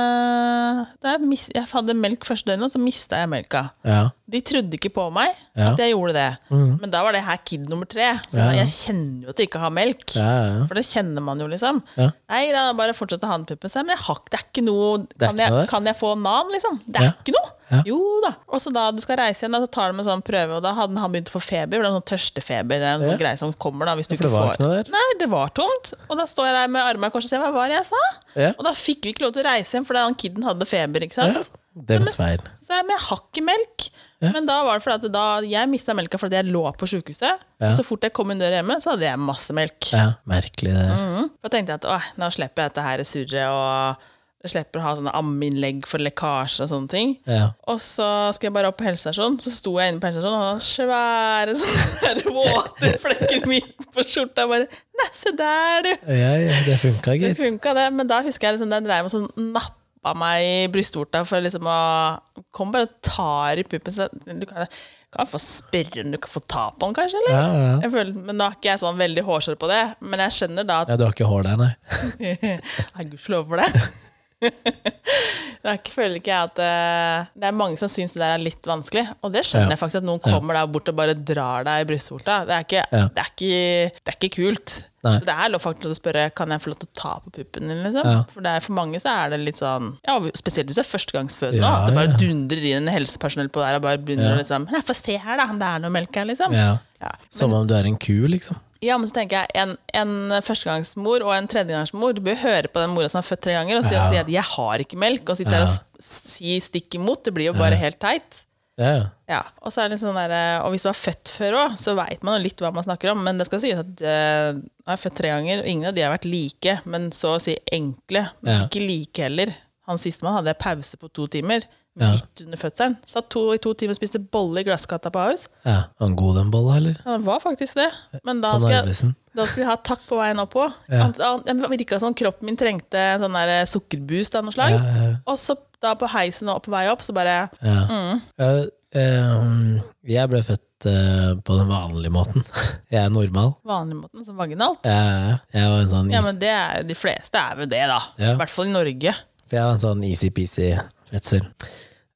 S2: eh, da jeg, mis, jeg hadde melk første døgnet, og så mista jeg melka.
S1: ja,
S2: De trodde ikke på meg
S1: Ja. Mm.
S2: at jeg gjorde det. Men da var det her kid nummer tre. Så
S1: Ja, ja.
S2: jeg kjenner jo at jeg ikke har melk.
S1: ja, ja.
S2: For det kjenner man jo, liksom.
S1: Ja.
S2: Nei, da bare fortsetter han å puppe seg. Men jeg har, ikke- det er ikke noe
S1: er
S2: Kan,
S1: ikke noe
S2: jeg,
S1: der.
S2: kan jeg få nan, liksom? Det er
S1: Ja.
S2: ikke noe!
S1: Ja.
S2: Jo da. Og så da du skal reise igjen, da, så tar de en sånn prøve, og da hadde han begynt å få feber. for Det er sånn tørstefeber, det er noe
S1: Ja.
S2: greie som kommer da, hvis du
S1: for det
S2: ikke
S1: var
S2: får
S1: ikke noe der.
S2: Nei, det var tomt. Og da står jeg der med armene i kors og sier hva var det jeg sa?
S1: Ja.
S2: Og da fikk vi ikke lov til å reise hjem, fordi han kiden hadde feber, ikke sant?
S1: Dems feil.
S2: Så jeg, men jeg har ikke melk. Men da var det fordi at da, jeg mista melka fordi jeg lå på sjukehuset. Og så fort jeg kom inn døra hjemme, så hadde jeg masse melk.
S1: Ja, merkelig det. der.
S2: Mm. Da tenkte jeg at «Åh, nå slipper jeg dette her surret, og jeg slipper å ha sånne ammeinnlegg for lekkasjer og sånne ting.
S1: Ja.
S2: Og så skulle jeg bare opp på helsestasjonen, så sto jeg inne på helsestasjonen og hadde svære sånne der våte flekker midt på skjorta. Bare Nei, se der, du!
S1: Ja, ja, det funka, gitt.
S2: Det funka, det. Men da husker jeg liksom, den dreiv og sånn nappa meg i brystvorta for liksom å Kom bare og tar i puppen. Så du kan, kan få spørre om du kan få ta på den, kanskje? eller?
S1: Ja, ja.
S2: Jeg føler, men nå er ikke jeg sånn veldig hårsår på det, men jeg skjønner da at
S1: ja, du har ikke hår der, nei.
S2: Nei, gudskjelov for det. Jeg føler ikke jeg at eh, Det er mange som syns det der er litt vanskelig, og det skjønner
S1: Ja.
S2: jeg faktisk. At noen kommer der bort og bare drar deg i brystvorta. Det, er ikke-
S1: Ja.
S2: det, er ikke- det er ikke kult.
S1: Nei.
S2: Så det er lov faktisk å spørre Kan jeg få lov til å ta på puppen din. Liksom?
S1: Ja.
S2: For, det er, for mange så er det litt sånn ja, Spesielt hvis du er førstegangsfødende.
S1: Ja,
S2: at det bare
S1: ja.
S2: dundrer inn en helsepersonell på der og bare begynner
S1: Ja.
S2: å liksom «Nei, Få se her, da, om det er noe melk her, liksom.
S1: Ja.
S2: Ja.
S1: Som om du er en ku, liksom.
S2: Ja, men så tenker jeg En, en førstegangsmor og en tredjegangsmor Du bør høre på den mora som er født tre ganger, og si,
S1: Ja.
S2: si at 'jeg har ikke melk', og sitte der og s- si stikk imot. Det blir jo bare helt teit.
S1: Ja,
S2: Ja, Og så er det litt sånn der, eh, og hvis du er født før òg, så veit man jo litt hva man snakker om. Men det skal sies at eh, jeg er født tre ganger, og ingen av de har vært like, men så å si enkle. Men
S1: Ja.
S2: ikke like heller. Han sistemann hadde pause på to timer.
S1: Ja.
S2: Midt under fødselen. Satt to i to timer og spiste bolle i glasskata på Ahus.
S1: ja. Var den god, den bolla, eller?
S2: Ja, det var faktisk det. Men da
S1: Han
S2: skulle jeg,
S1: Arvesen.
S2: da skulle jeg ha takk på veien opp òg.
S1: Ja.
S2: Det virka som kroppen min trengte en sånn der eh, sukkerboost av noe slag.
S1: Ja, ja, ja.
S2: Og så da på heisen og på vei opp, så bare
S1: Ja.
S2: Mm.
S1: Ja, ehm, jeg ble født eh, på den vanlige måten. jeg er normal.
S2: vanlig måten, som vaginalt.
S1: Jeg, jeg var en sånn,
S2: Ja,
S1: easy-
S2: men det er, de fleste er vel det, da.
S1: Ja.
S2: I hvert fall i Norge.
S1: for jeg var en sånn easy-peasy fødsel.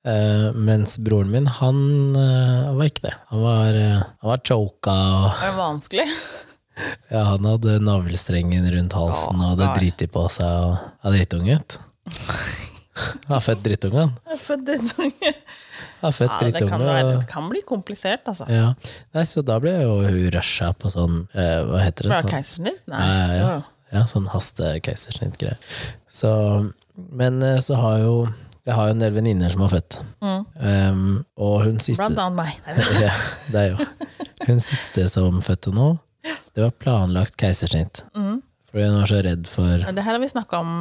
S1: Eh, mens broren min, han eh, var ikke det. Han var, eh, han var choka, og
S2: Det er vanskelig.
S1: ja, han hadde navlestrengen rundt halsen og
S2: Å,
S1: hadde
S2: nei.
S1: driti på seg. Og han er drittunge, vet du. Han er født drittunge, han.
S2: Jeg er født drittunge.
S1: Han er født
S2: Ja, det
S1: drittunge.
S2: kan, være,
S1: og-
S2: det kan bli komplisert, altså.
S1: Ja. Nei, så da ble jo hun rusha på sånn eh, Hva heter det?
S2: Var det
S1: Sånn,
S2: keisersnitt? Nei.
S1: Nei,
S2: det
S1: ja.
S2: var-
S1: ja, sånn haste-keisersnitt-greie. Så, men eh, så har jo Jeg har jo en del venninner som har født. Em, og hun siste
S2: Mm. Blant annet meg. Nei, det-
S1: ja, det er jo. Hun siste som fødte nå, det var planlagt keisersnitt.
S2: Mm.
S1: Fordi hun var så redd for
S2: Men det her har vi snakka om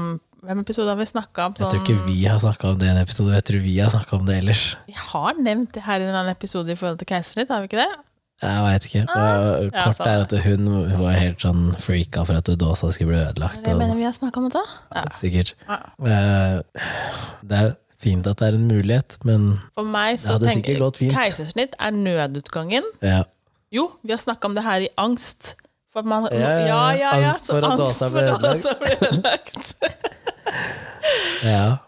S2: Hvem episode har vi snakka om?
S1: Jeg tror
S2: Sånn,
S1: ikke vi har snakka om det i en episode, jeg tror vi har snakka om det ellers.
S2: vi har nevnt det her i en eller annen episode i forhold til keisersnitt, har vi ikke det?
S1: Jeg veit ikke. Men
S2: Ah, ja,
S1: kort
S2: samme.
S1: er at hun var helt sånn freaka for at dåsa skulle bli ødelagt.
S2: Jeg
S1: og-
S2: mener vi har snakka om dette? Ja.
S1: Sikkert.
S2: Ja.
S1: Eh, Det er fint at det er en mulighet, men
S2: For meg så
S1: Ja, det er
S2: tenker
S1: sikkert gått fint.
S2: keisersnitt er nødutgangen.
S1: ja.
S2: Jo, vi har snakka om det her i angst. For at man,
S1: ja, ja.
S2: ja, ja, ja,
S1: Angst
S2: så
S1: for at
S2: angst
S1: data
S2: for
S1: ble
S2: at
S1: ødelagt.
S2: data ble ødelagt.
S1: ja.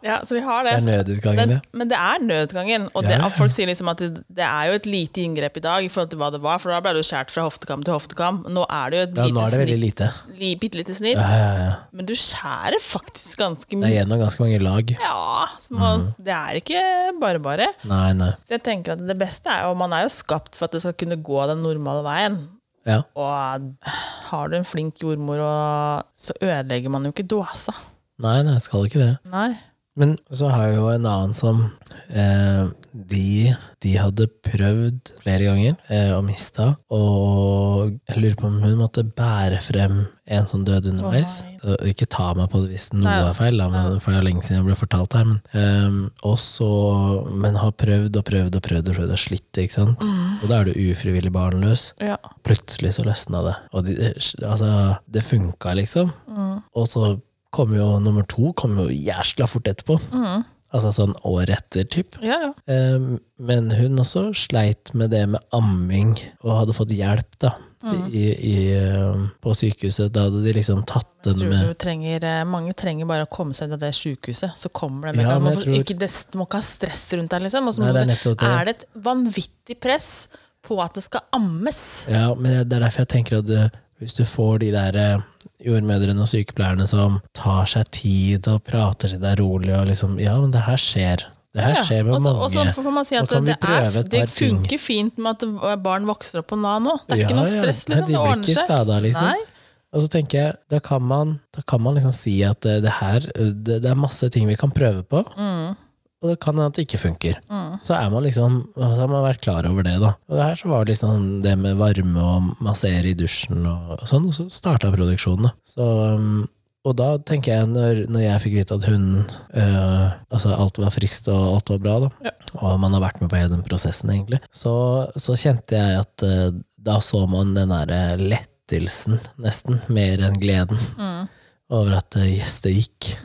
S2: Ja, så vi har
S1: Det er
S2: det.
S1: nødutgangen,
S2: Men,
S1: ja.
S2: men det er nødutgangen. Og det,
S1: Ja, ja.
S2: at folk sier liksom at det, det er jo et lite inngrep i dag i forhold til hva det var, for da ble det jo skåret fra hoftekam til hoftekam. Nå er det jo et
S1: ja. Nå
S2: lite
S1: er det veldig
S2: snitt,
S1: lite.
S2: li, bitte lite snitt,
S1: Ja, ja, ja.
S2: men du skjærer faktisk ganske
S1: Det er Mm.
S2: mye.
S1: gjennom ganske mange lag.
S2: Ja, så man, det er ikke bare bare.
S1: Nei, nei.
S2: Så jeg tenker at det beste er jo Man er jo skapt for at det skal kunne gå den normale veien.
S1: Ja.
S2: Og har du en flink jordmor, og så ødelegger man jo ikke dåsa.
S1: Nei, nei, skal ikke det.
S2: Nei.
S1: Men så har jeg jo en annen som eh, de, de hadde prøvd flere ganger eh, og mista, og jeg lurer på om hun måtte bære frem en som døde underveis.
S2: Å,
S1: Og Ikke ta meg på det hvis noe
S2: Nei.
S1: er feil, da, men, for det er lenge siden jeg ble fortalt her. Men, eh, og så- men har prøvd og prøvd og prøvd og prøvd og slitt, ikke sant.
S2: Mm.
S1: Og da er du ufrivillig barnløs.
S2: Ja.
S1: Plutselig så løsna det. Og de, altså, det funka, liksom. Og så kom jo nummer to kom jo jæskla fort etterpå. Altså sånn året etter, typ.
S2: ja, ja.
S1: Eh, men hun også sleit med det med amming, og hadde fått hjelp, da. I, i, eh, på sykehuset. Da hadde de liksom tatt den
S2: Tror
S1: med
S2: du trenger, eh, mange trenger bare å komme seg ut av det sykehuset, så kommer det
S1: Ja,
S2: mekanismer.
S1: men
S2: Man
S1: jeg
S2: får
S1: tror-
S2: ikke, des- du må ikke ha stress rundt deg, liksom. Og så
S1: Nei,
S2: må
S1: det er
S2: du-
S1: nettopp det.
S2: er det et vanvittig press på at det skal ammes?
S1: Ja, men det er derfor jeg tenker at du, hvis du får de der eh, jordmødrene og sykepleierne som tar seg tid og prater til deg rolig og liksom Ja, men det her skjer. Det her
S2: Ja,
S1: skjer med
S2: og så-
S1: mange.
S2: Og så får man si
S1: Nå
S2: at
S1: kan
S2: det,
S1: vi
S2: det,
S1: prøve
S2: er,
S1: et
S2: det
S1: par ting.
S2: funker fint med at det- barn vokser opp på Nav nå. Det er
S1: Ja,
S2: ikke noe
S1: ja.
S2: stress,
S1: Nei,
S2: liksom.
S1: de
S2: Det
S1: blir
S2: ordner
S1: ikke
S2: seg.
S1: skada, liksom.
S2: Nei.
S1: Og så tenker jeg, da kan man, da kan man liksom si at eh, det her, eh, det, det er masse ting vi kan prøve på. og det kan hende at det ikke funker. Så er man liksom og Så har man vært klar over det, da. Og det her så var det liksom det med varme og massere i dusjen og, og sånn, og så starta produksjonen, da. Så um, og da tenker jeg, når, når jeg fikk vite at hun øh, Altså, alt var friskt og alt var bra, da, og man har vært med på hele den prosessen, egentlig, så, så kjente jeg at øh, da så man den derre lettelsen, nesten, mer enn gleden over at øh, yes, det gikk.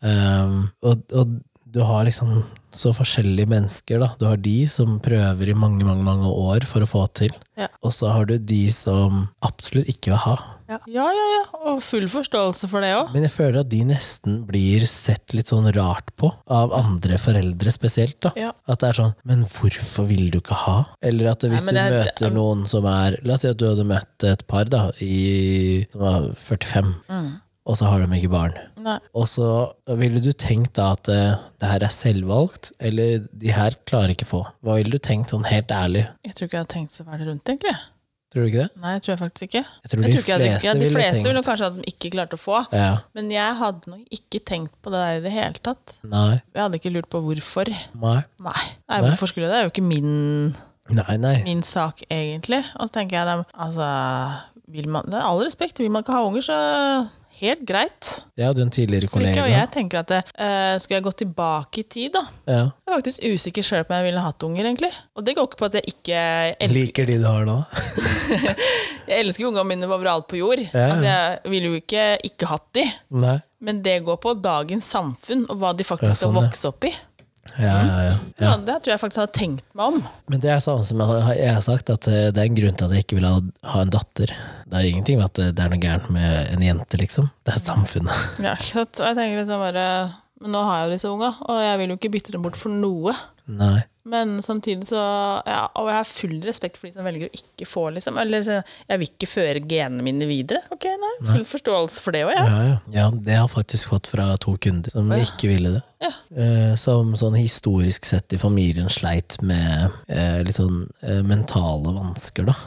S1: Ehm, og, og du har liksom så forskjellige mennesker, da. Du har de som prøver i mange, mange, mange år for å få til,
S2: Ja.
S1: og så har du de som absolutt ikke vil ha.
S2: Ja. ja, ja, ja. Og full forståelse for det òg.
S1: Men jeg føler at de nesten blir sett litt sånn rart på av andre foreldre spesielt. da.
S2: Ja.
S1: At det er sånn 'men hvorfor vil du ikke ha?' Eller at hvis
S2: Nei, men
S1: du
S2: det er-
S1: møter noen som er La oss si at du hadde møtt et par da, i, som var 45,
S2: Mm.
S1: og så har de ikke barn.
S2: Nei.
S1: Og så ville du tenkt da at eh, det her er selvvalgt, eller de her klarer ikke få. Hva ville du tenkt sånn helt ærlig?
S2: Jeg tror ikke jeg hadde tenkt så veldig rundt, egentlig.
S1: Tror du ikke det?
S2: Nei, jeg tror jeg faktisk ikke.
S1: Jeg tror
S2: Jeg
S1: de
S2: tror ikke jeg hadde,
S1: fleste
S2: ja, de
S1: ville
S2: fleste
S1: tenkt
S2: ville kanskje at de ikke klarte å få.
S1: Ja.
S2: Men jeg hadde nok ikke tenkt på det der i det hele tatt.
S1: Nei.
S2: Jeg hadde ikke lurt på hvorfor.
S1: Nei.
S2: Nei, Nei
S1: Nei.
S2: hvorfor skulle jeg det? Det er jo ikke min,
S1: Nei, nei.
S2: min sak, egentlig. Og så tenker jeg dem, altså vil man, Det er all respekt, vil man ikke ha unger, så helt greit.
S1: Jeg hadde en tidligere
S2: For ikke,
S1: kollega.
S2: og jeg tenker at eh, Skulle jeg gått tilbake i tid, da?
S1: Ja.
S2: Jeg er faktisk usikker sjøl på om jeg ville hatt unger, egentlig. Og det går ikke på at jeg ikke elsker
S1: Liker de du har nå?
S2: Jeg elsker jo ungene mine overalt på jord.
S1: Ja.
S2: Altså, jeg ville jo ikke ikke hatt de.
S1: Nei.
S2: Men det går på dagens samfunn og hva de faktisk
S1: Ja, sånn,
S2: skal
S1: ja.
S2: vokse opp i.
S1: Ja, ja, ja.
S2: Ja. Det tror jeg faktisk hadde tenkt meg om.
S1: Men det er samme som jeg har- jeg har sagt, at eh, det er en grunn til at jeg ikke vil ha, ha en datter. Det er ingenting med at eh, det er noe gærent med en jente, liksom. Det er samfunnet.
S2: Ja, ikke sant? Og jeg tenker liksom bare Men nå har jeg jo disse unga, og jeg vil jo ikke bytte dem bort for noe.
S1: Nei.
S2: Men samtidig så ja, Og jeg har full respekt for de som velger å ikke få, liksom. Eller så- jeg vil ikke føre genene mine videre. Ok, nei, Full forståelse for det òg, jeg.
S1: Ja, ja. ja, det har jeg faktisk fått fra to kunder som ikke ville det.
S2: Ja.
S1: Eh, Som sånn historisk sett i familien sleit med eh, litt sånn eh, mentale vansker, da.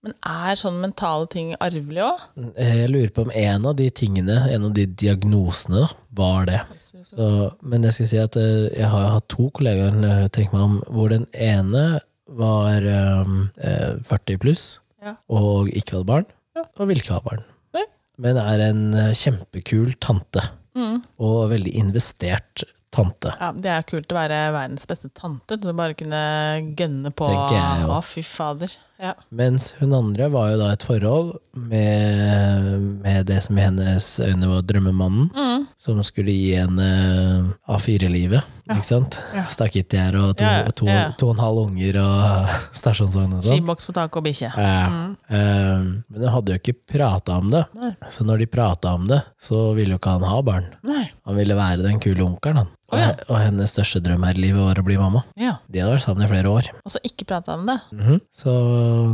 S2: Men er sånne mentale ting arvelig òg?
S1: Eh, Jeg lurer på om en av de tingene, en av de diagnosene, da, var det. Så, men jeg skulle si at eh, jeg har hatt to kollegaer eh, tenk meg om, hvor den ene var eh, eh, 40 pluss
S2: Ja.
S1: og ikke hadde barn,
S2: Ja.
S1: og ville ikke ha barn.
S2: Nei.
S1: Men er en eh, kjempekul tante,
S2: Mm.
S1: og veldig investert tante.
S2: Ja, det er kult å være verdens beste tante, som bare kunne gønne på.
S1: Tenker jeg jo.
S2: Å, fy fader. Ja.
S1: Mens hun andre var jo da et forhold med, med det som i hennes øyne var drømmemannen,
S2: Mm.
S1: som skulle gi henne A4-livet, ikke sant?
S2: Ja.
S1: Stakittgjær og to,
S2: Ja, ja,
S1: to,
S2: ja.
S1: to og en halv unger og stasjonsvogn og sånn.
S2: Skiboks på taket og bikkje.
S1: Ja. Eh, men hun hadde jo ikke prata om det,
S2: Mm. Nei.
S1: så når de prata om det, så ville jo ikke han ha barn.
S2: Nei.
S1: Han ville være den kule onkelen, han.
S2: Å, ja.
S1: Og hennes største drøm her i livet var å bli mamma.
S2: Ja.
S1: De hadde vært sammen i flere år.
S2: Og så ikke prate om det.
S1: Mhm. Så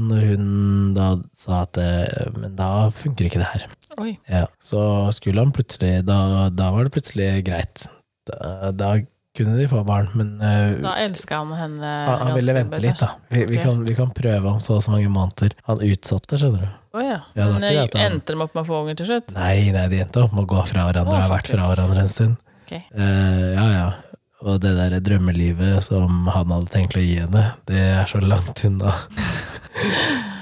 S1: når hun da sa at eh, Men da funker ikke det her.
S2: Oi.
S1: Ja. Så skulle han plutselig Da, da var det plutselig greit. Da, da kunne de få barn, men eh,
S2: Da elska han henne.
S1: Ah, han, han ville
S2: ganske
S1: vente
S2: bedre.
S1: litt, da. Vi, vi,
S2: Ok.
S1: kan, vi kan prøve om så og så mange måneder. Han utsatte, skjønner du.
S2: Å ja.
S1: Ja, det var
S2: Men
S1: ikke det at han-
S2: endte de opp med å få unger til slutt?
S1: Nei, nei, de endte opp med å gå fra hverandre og
S2: Å,
S1: har vært fra
S2: faktisk.
S1: hverandre en stund.
S2: Ok.
S1: Eh, ja, ja. Og det der drømmelivet som han hadde tenkt å gi henne, det er så langt unna.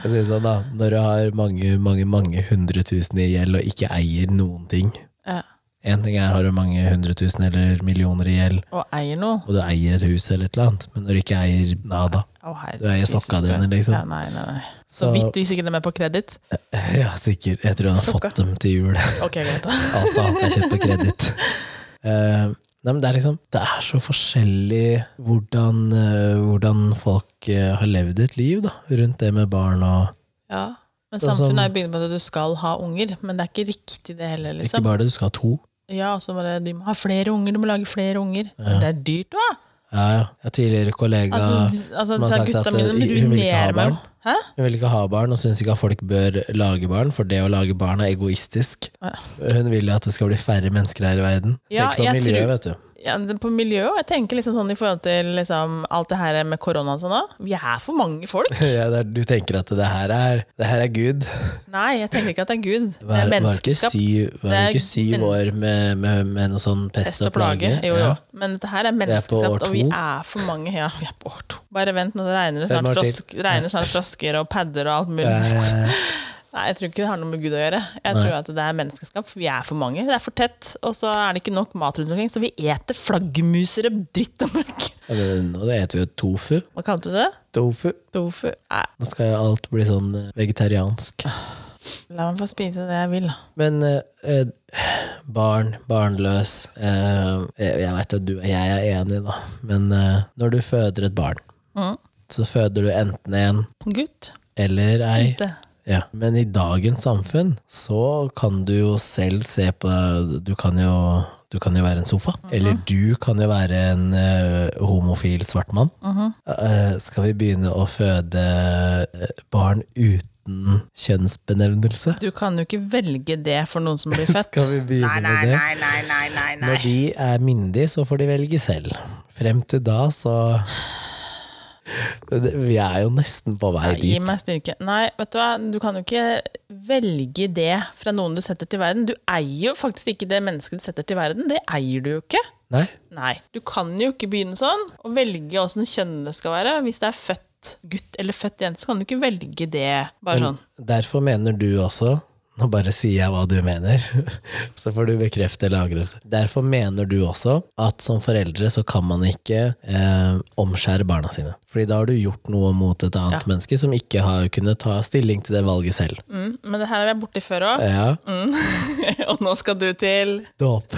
S1: Jeg synes sånn da, Når du har mange mange, mange hundre tusen i gjeld og ikke eier noen ting
S2: Ja.
S1: Én ting er har du mange hundre tusen eller millioner i gjeld,
S2: Og eier noe?
S1: og du eier et hus eller et eller annet, men når du ikke eier nada
S2: Å, herre,
S1: Du eier
S2: Jesus
S1: sokka dine,
S2: Christ.
S1: liksom.
S2: Ja, nei, nei, nei. Så,
S1: Så-
S2: vidt hvis ikke de er med på kreditt.
S1: Ja, sikkert. Jeg tror han har
S2: Sokka.
S1: fått dem til jul.
S2: Ok, greit. da.
S1: Alt annet er kjøpt på kreditt. Eh, nei, men det er liksom Det er så forskjellig hvordan, eh, hvordan folk eh, har levd et liv da, rundt det med barn og
S2: Ja. Men
S1: Og sånn-
S2: samfunnet er jo bygd på at du skal ha unger, men det er ikke riktig det heller,
S1: Ikke
S2: liksom.
S1: bare det, du skal ha to.
S2: Ja, og så bare du må ha flere unger, du må lage flere unger. Men Det er dyrt, da!
S1: Ja, ja. Jeg har tidligere kollega
S2: Altså, altså
S1: som har
S2: så
S1: sagt
S2: gutta
S1: at
S2: mine
S1: eh, hun vil ikke ha
S2: ruinerer meg
S1: barn.
S2: jo. Hæ?
S1: Hun vil ikke ha barn og syns ikke at folk bør lage barn, for det å lage barn er egoistisk.
S2: Ja.
S1: Hun vil jo at det skal bli færre mennesker her i verden.
S2: Ja,
S1: Tenk på
S2: jeg
S1: miljøet,
S2: tror-
S1: vet du.
S2: ja, det- på miljø og Jeg tenker liksom sånn i forhold til liksom, alt det her med korona og sånn òg. Vi er for mange folk.
S1: Ja, det er, du tenker at det her er, det her er Gud.
S2: Nei, jeg tenker ikke at det er Gud. Det
S1: Var, var
S2: er
S1: ikke
S2: menneskeskapt.
S1: syv, var
S2: Det er
S1: ikke syv
S2: menneske-
S1: år med, med, med noe sånn pest og plage?
S2: Jo, jo.
S1: Ja.
S2: Men dette her er
S1: er på år
S2: menneskeskapt, og vi
S1: to.
S2: er for mange. Ja, vi er på år to. Bare vent, nå regner det
S1: Fem
S2: snart,
S1: år til.
S2: frosk, regner snart frosker og padder og alt mulig.
S1: Eh,
S2: Nei, jeg tror ikke det har noe med Gud å gjøre. Jeg tror at det er menneskeskapt, for vi er for mange. Det er for tett, og så er det ikke nok mat rundt omkring, så vi eter flaggermuser og dritt og møkk.
S1: ja, men nå heter vi jo tofu.
S2: Hva kalte du det?
S1: Tofu.
S2: Tofu? Nei,
S1: Nå skal jo alt bli sånn eh, vegetariansk.
S2: la meg få spise det jeg vil. da.
S1: Men eh, eh, barn, barnløs eh, Jeg jeg vet at du og jeg er enig, da. Men eh, når du føder et barn,
S2: Mm.
S1: så føder du enten en
S2: Gutt?
S1: eller ei.
S2: Det.
S1: Ja. Men i dagens samfunn så kan du jo selv se på Du kan jo, du kan jo være en sofa.
S2: Mhm.
S1: Eller du kan jo være en eh, homofil svart mann.
S2: Mhm.
S1: Eh, skal vi begynne å føde eh, barn uten kjønnsbenevnelse?
S2: Du kan jo ikke velge det for noen som blir født.
S1: Skal vi begynne
S2: Nei, nei,
S1: med det?
S2: nei, nei, nei, nei, nei.
S1: Når de er myndige, så får de velge selv. Frem til da, så Det- Vi er jo nesten på vei
S2: Gi
S1: dit.
S2: meg styrke. Nei, vet du hva, du kan jo ikke velge det fra noen du setter til verden. Du eier jo faktisk ikke det mennesket du setter til verden. Det eier du jo ikke.
S1: Nei?
S2: Nei. Du kan jo ikke begynne sånn, og velge åssen kjønn det skal være. Hvis det er født gutt eller født jente, så kan du ikke velge det bare sånn.
S1: Derfor mener du også Nå bare sier jeg hva du mener, så får du bekrefte eller avkrefte. Derfor mener du også at som foreldre så kan man ikke eh, omskjære barna sine. Fordi da har du gjort noe mot et annet menneske som ikke har kunnet ta stilling til det valget selv.
S2: Mm, men det her har vi vært borti før òg,
S1: Ja,
S2: og nå skal du til
S1: dåp.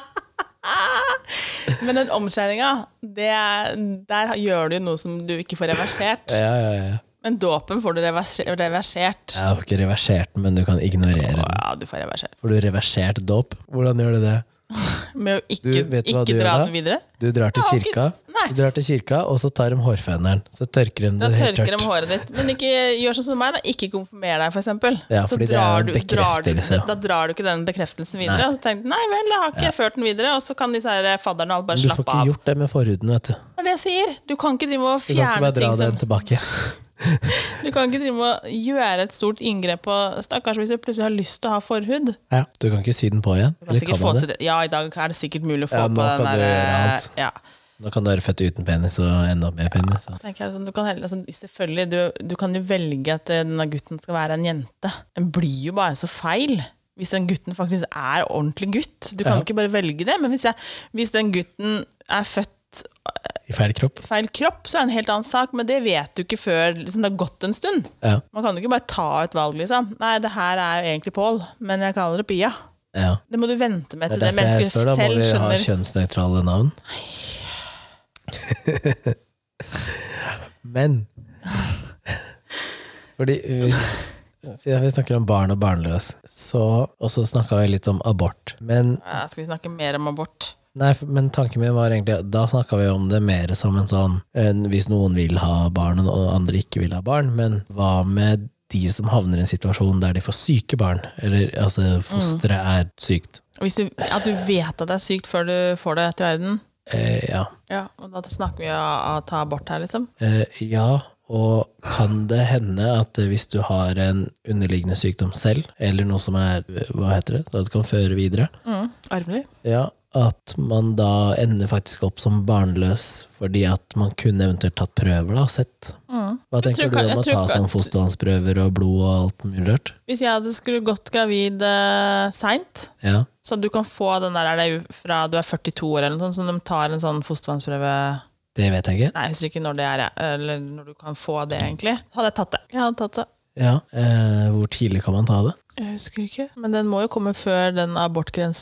S2: Men den omskjæringa, det er- der gjør du jo noe som du ikke får reversert.
S1: Ja, ja, ja.
S2: Men dåpen får du reverser- reversert.
S1: Jeg har ikke reversert den, men du kan ignorere den.
S2: Ja, du får reversert.
S1: Får du reversert dåp? Hvordan gjør du det?
S2: Med å
S1: Du,
S2: ikke,
S1: vet du hva
S2: ikke
S1: du gjør
S2: dra
S1: da?
S2: den videre.
S1: Du drar til
S2: Jeg har ikke-
S1: kirka,
S2: Nei.
S1: du drar til kirka og så tar de hårføneren. Så tørker de
S2: Da
S1: det helt
S2: tørker de
S1: tørt.
S2: håret ditt. Men ikke gjør sånn som meg, da. Ikke konfirmer deg, f.eks.
S1: Ja, fordi det er en bekreftelse.
S2: Da drar du ikke den bekreftelsen videre.
S1: Nei.
S2: Og så tenker du nei vel, da har ikke jeg ført den videre. Og så kan disse her eh, fadderne og alle bare
S1: Du får
S2: slappe
S1: ikke
S2: av.
S1: gjort det med forhuden, vet du.
S2: Det er det jeg sier. Du kan ikke drive og
S1: Du kan ikke
S2: fjerne
S1: bare dra
S2: ting som
S1: den tilbake.
S2: Du kan ikke drive og gjøre et stort inngrep på Stakkars hvis du plutselig har lyst til å ha forhud.
S1: Ja. Du kan ikke sy den på igjen.
S2: Du kan
S1: Eller
S2: sikkert
S1: kan
S2: få
S1: man det?
S2: til det. Ja, i dag er det sikkert mulig å få
S1: Ja, nå
S2: på den
S1: kan du gjøre
S2: der eh,
S1: alt.
S2: ja.
S1: Nå kan du være født uten penis og enda mer penis. da.
S2: Tenker jeg sånn, du kan heller, altså, selvfølgelig, du, du kan jo velge at eh, denne gutten skal være en jente. Den blir jo bare så feil. Hvis den gutten faktisk er ordentlig gutt. Du kan
S1: Ja.
S2: ikke bare velge det. Men hvis, jeg, hvis den gutten er født
S1: I feil kropp.
S2: feil kropp, så er det en helt annen sak. Men det vet du ikke før liksom, det har gått en stund.
S1: Ja.
S2: Man kan jo ikke bare ta et valg, liksom. Nei, det her er jo egentlig Pål, men jeg kaller det Pia.
S1: ja.
S2: Det må du vente med
S1: Det
S2: til
S1: er
S2: det,
S1: derfor jeg
S2: mennesket
S1: spør, da. Må
S2: selv
S1: vi ha
S2: skjønner.
S1: kjønnsnøytrale navn? Men Fordi hvis, siden vi snakker om barn og barnløs, så, og så snakka vi litt om abort. Men
S2: Ja, skal vi snakke mer om abort?
S1: Nei, for- men tanken min var egentlig at Da snakka vi om det mer som en sånn en, Hvis noen vil ha barn, og andre ikke vil ha barn, men hva med de som havner i en situasjon der de får syke barn? Eller altså, fosteret er sykt.
S2: Hvis du, at du vet at det er sykt før du får det til verden?
S1: Eh, ja.
S2: Ja, og da snakker vi om å ta abort her, liksom.
S1: Eh, ja, og kan det hende at eh, hvis du har en underliggende sykdom selv, eller noe som er eh, Hva heter det? At du kan føre videre,
S2: Mm. Arvelig.
S1: Ja, at man da ender faktisk opp som barnløs fordi at man kunne eventuelt tatt prøver da, og sett. Hva
S2: Mm. Jeg
S1: tenker
S2: tror
S1: du
S2: ikke-
S1: om å
S2: jeg
S1: ta
S2: tror ikke-
S1: sånn fostervannsprøver og blod og alt mulig rørt?
S2: Hvis jeg hadde skulle gått gravid eh, seint,
S1: Ja.
S2: så du kan få den der er det fra du er 42 år eller noe sånt, så de tar en sånn fostervannsprøve
S1: Det vet jeg ikke.
S2: Nei, jeg husker ikke når det er, jeg, eller når du kan få det, egentlig. Hadde jeg tatt det. Jeg hadde tatt det.
S1: Ja, eh, Hvor tidlig kan man ta det?
S2: Jeg husker ikke. Men den må jo komme før den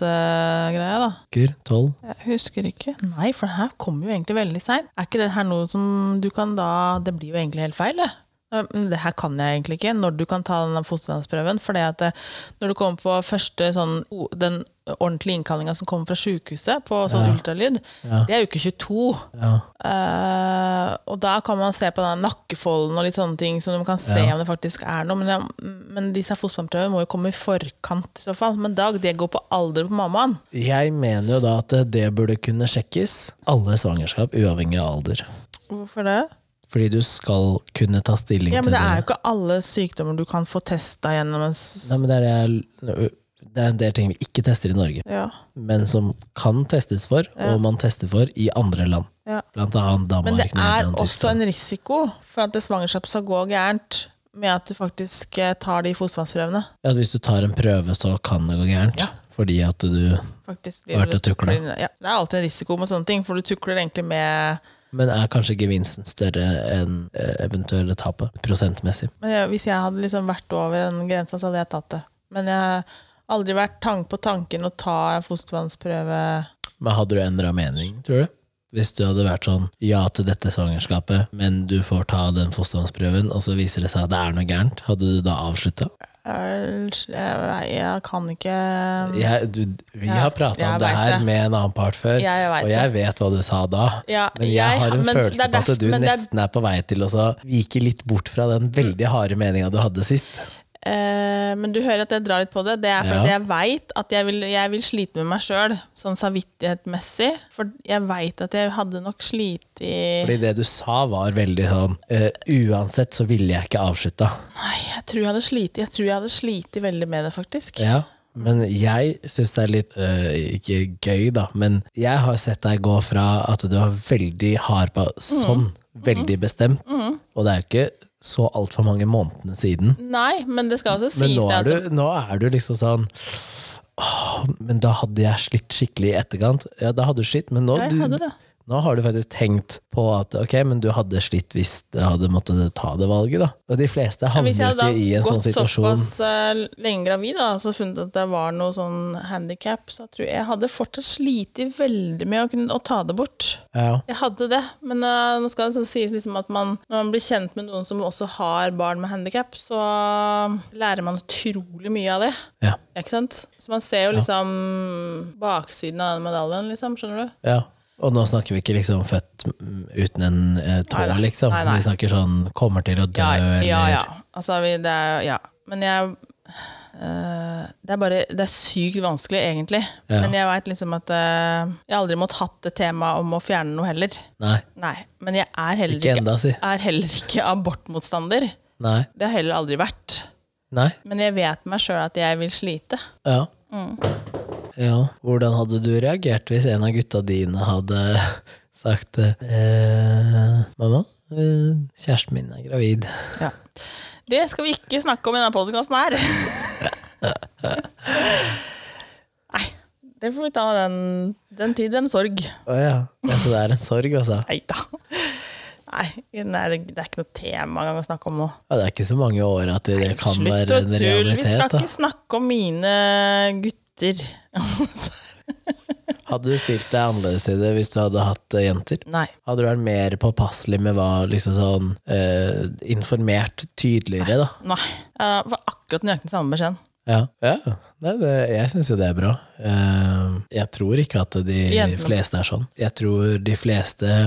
S2: abortgrensegreia, da.
S1: Gur, 12?
S2: Jeg husker ikke. Nei, for den her kommer jo egentlig veldig seint. Er ikke det her noe som du kan da Det blir jo egentlig helt feil, det. Men Det her kan jeg eh, egentlig ikke, når du kan ta den fostervannsprøven. For når du kommer på første sånn o- den ordentlige innkallinga som kommer fra sjukehuset på sånn ultralyd,
S1: Ja.
S2: det er uke 22.
S1: Ja.
S2: Eh, og da kan man se på den nakkefolden og litt sånne ting, så man kan se
S1: Ja.
S2: om det faktisk er noe. Men, det, men disse fosterhjemsprøvene må jo komme i forkant i så fall. Men Dag, det går på alder på mammaen.
S1: Jeg mener jo da at det burde kunne sjekkes alle svangerskap, uavhengig av alder.
S2: Hvorfor det?
S1: Fordi du skal kunne ta stilling
S2: Ja,
S1: til
S2: men det
S1: det.
S2: er jo ikke alle sykdommer du kan få testa gjennom en s-
S1: Nei, men det, er det, jeg, det er en del ting vi ikke tester i Norge,
S2: Ja.
S1: men som kan testes for, og man tester for i andre land.
S2: ja.
S1: Blant annet Danmark.
S2: Men det er
S1: Nederland,
S2: også
S1: Tyskland.
S2: en risiko for at det svangerskap skal gå gærent med at du faktisk eh, tar de fostervannsprøvene.
S1: Ja, at hvis du tar en prøve, så kan det gå gærent. Fordi at du
S2: Faktisk.
S1: Det er verdt å tukle.
S2: Ja, det er alltid en risiko med sånne ting, for du tukler egentlig med
S1: Men er kanskje gevinsten større enn eh, eventuelle tapet, prosentmessig?
S2: Men jeg, hvis jeg hadde liksom vært over den grensa, så hadde jeg tatt det. Men jeg har aldri vært tank på tanken å ta en fostervannsprøve.
S1: Men hadde du endra mening, tror du? Hvis du hadde vært sånn ja til dette svangerskapet, men du får ta den fostervannsprøven, og så viser det seg at det er noe gærent, hadde du da avslutta?
S2: Jeg, jeg, jeg kan ikke
S1: Jeg- du- Vi
S2: Ja,
S1: har prata om
S2: jeg
S1: det
S2: vet
S1: her
S2: det.
S1: med en annen part før,
S2: Jeg vet
S1: og jeg vet hva du sa da.
S2: Ja,
S1: Men jeg har en
S2: men det er
S1: følelse på at
S2: derf-
S1: du
S2: men det er-
S1: nesten er på vei til å så vike litt bort fra den veldig harde meninga du hadde sist.
S2: Eh, men du hører at jeg drar litt på det. Det er fordi
S1: Ja.
S2: jeg veit at jeg vil, jeg vil slite med meg sjøl, sånn samvittighetsmessig. For jeg veit at jeg hadde nok slitt i
S1: Fordi det du sa var veldig sånn eh, Uansett så ville jeg ikke avslutta.
S2: Nei, jeg tror jeg hadde slitt, jeg tror jeg hadde slitt veldig med det, faktisk.
S1: Ja. Men jeg syns det er litt eh, Ikke gøy, da, men jeg har sett deg gå fra at du var veldig hard på sånn,
S2: Mm.
S1: veldig bestemt, og det er jo ikke så altfor mange månedene siden.
S2: Nei, men det skal også
S1: Men
S2: sies
S1: nå
S2: det
S1: er,
S2: at
S1: du, nå er du liksom sånn «Åh, Men da hadde jeg slitt skikkelig i etterkant. Ja, da hadde du slitt, men nå,
S2: Ja, jeg hadde
S1: du,
S2: det.
S1: nå har du faktisk tenkt på at ok, men du hadde slitt hvis du hadde måttet ta det valget, da. Og de fleste havner
S2: Hvis jeg hadde
S1: ikke i
S2: da
S1: en sånn
S2: gått
S1: situasjon.
S2: såpass eh, lenge gravid da, og funnet at det var noe sånn handikap, så tror jeg jeg hadde fortsatt slitt veldig med å, kunne, å ta det bort.
S1: Ja.
S2: Jeg hadde det, men eh, nå skal det så sies liksom at man, når man blir kjent med noen som også har barn med handikap, så eh, lærer man utrolig mye av det.
S1: Ja.
S2: Ikke sant? Så man ser jo liksom baksiden av den medaljen, liksom, skjønner du?
S1: ja. Og nå snakker vi ikke liksom født mm, uten en eh, tå,
S2: Neida.
S1: liksom.
S2: Nei, nei.
S1: Vi snakker sånn kommer til å dø,
S2: Ja, ja.
S1: eller
S2: ja. Altså, vi, det er, ja. Men jeg eh, det, er bare, det er sykt vanskelig, egentlig.
S1: Ja.
S2: Men jeg veit liksom at eh, jeg har aldri måttet hatt det temaet om å fjerne noe heller.
S1: Nei.
S2: Nei, Men jeg er heller
S1: Ikke
S2: ikke,
S1: enda, si.
S2: er heller ikke abortmotstander.
S1: Nei.
S2: Det har jeg heller aldri vært.
S1: Nei.
S2: Men jeg vet meg sjøl at jeg vil slite.
S1: Ja.
S2: Mm.
S1: ja. Hvordan hadde du reagert hvis en av gutta dine hadde sagt eh, Mamma, eh, kjæresten min er gravid.
S2: Det skal vi ikke snakke om i denne podkasten her. Nei. Det får vi ta den, den tid, den sorg.
S1: Å ja. ja. Så det er en sorg, altså.
S2: Nei da. Nei, nei, det det er ikke noe tema engang å snakke om nå.
S1: Ja, det er ikke så mange år at det kan
S2: Slutt
S1: være
S2: å
S1: en
S2: tulle. Vi skal
S1: realitet.
S2: ikke
S1: Da.
S2: snakke om mine gutter.
S1: Hadde du stilt deg annerledes til det hvis du hadde hatt eh, jenter?
S2: Nei.
S1: Hadde du vært mer påpasselig med hva liksom sånn eh, Informert tydeligere, da?
S2: Nei. Jeg får akkurat nøyaktig samme beskjeden.
S1: Ja. ja. Nei, det, jeg syns jo det er bra. Eh, jeg tror ikke at de
S2: Jentene.
S1: fleste er sånn. Jeg tror de fleste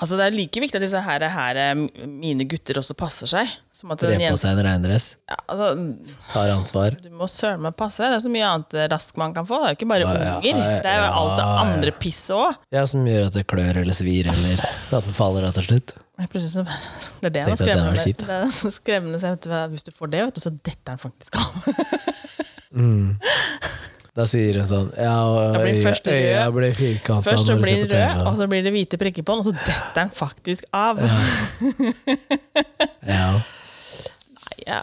S2: Altså, det er like viktig at disse her, her eh, mine gutter også passer seg. Som at
S1: Tre
S2: den
S1: på
S2: jenta
S1: seg en regndress,
S2: ja, altså,
S1: tar ansvar.
S2: Du må søren meg passe deg. Det er så mye annet rask man kan få. Det er jo ikke bare
S1: ja,
S2: unger.
S1: ja,
S2: Det er jo
S1: ja,
S2: alt det
S1: ja.
S2: andre pisset òg.
S1: Ja, Som gjør at det klør eller svir, eller at den faller rett og slett.
S2: Plutselig så bare Det er det
S1: Tenkte at
S2: som
S1: det var
S2: skremmer meg.
S1: kjipt, da.
S2: Det er så skremmende. så jeg vet hva, Hvis du får det, vet du, så detter den faktisk av.
S1: Da sier hun sånn Ja,
S2: Da
S1: og
S2: blir den
S1: øya,
S2: først rød.
S1: øya blir firkanta
S2: Først så
S1: når du
S2: blir
S1: ser på
S2: det
S1: TV.
S2: rød, og så blir det hvite prikker på den, og så detter den faktisk av.
S1: Ja.
S2: Ja,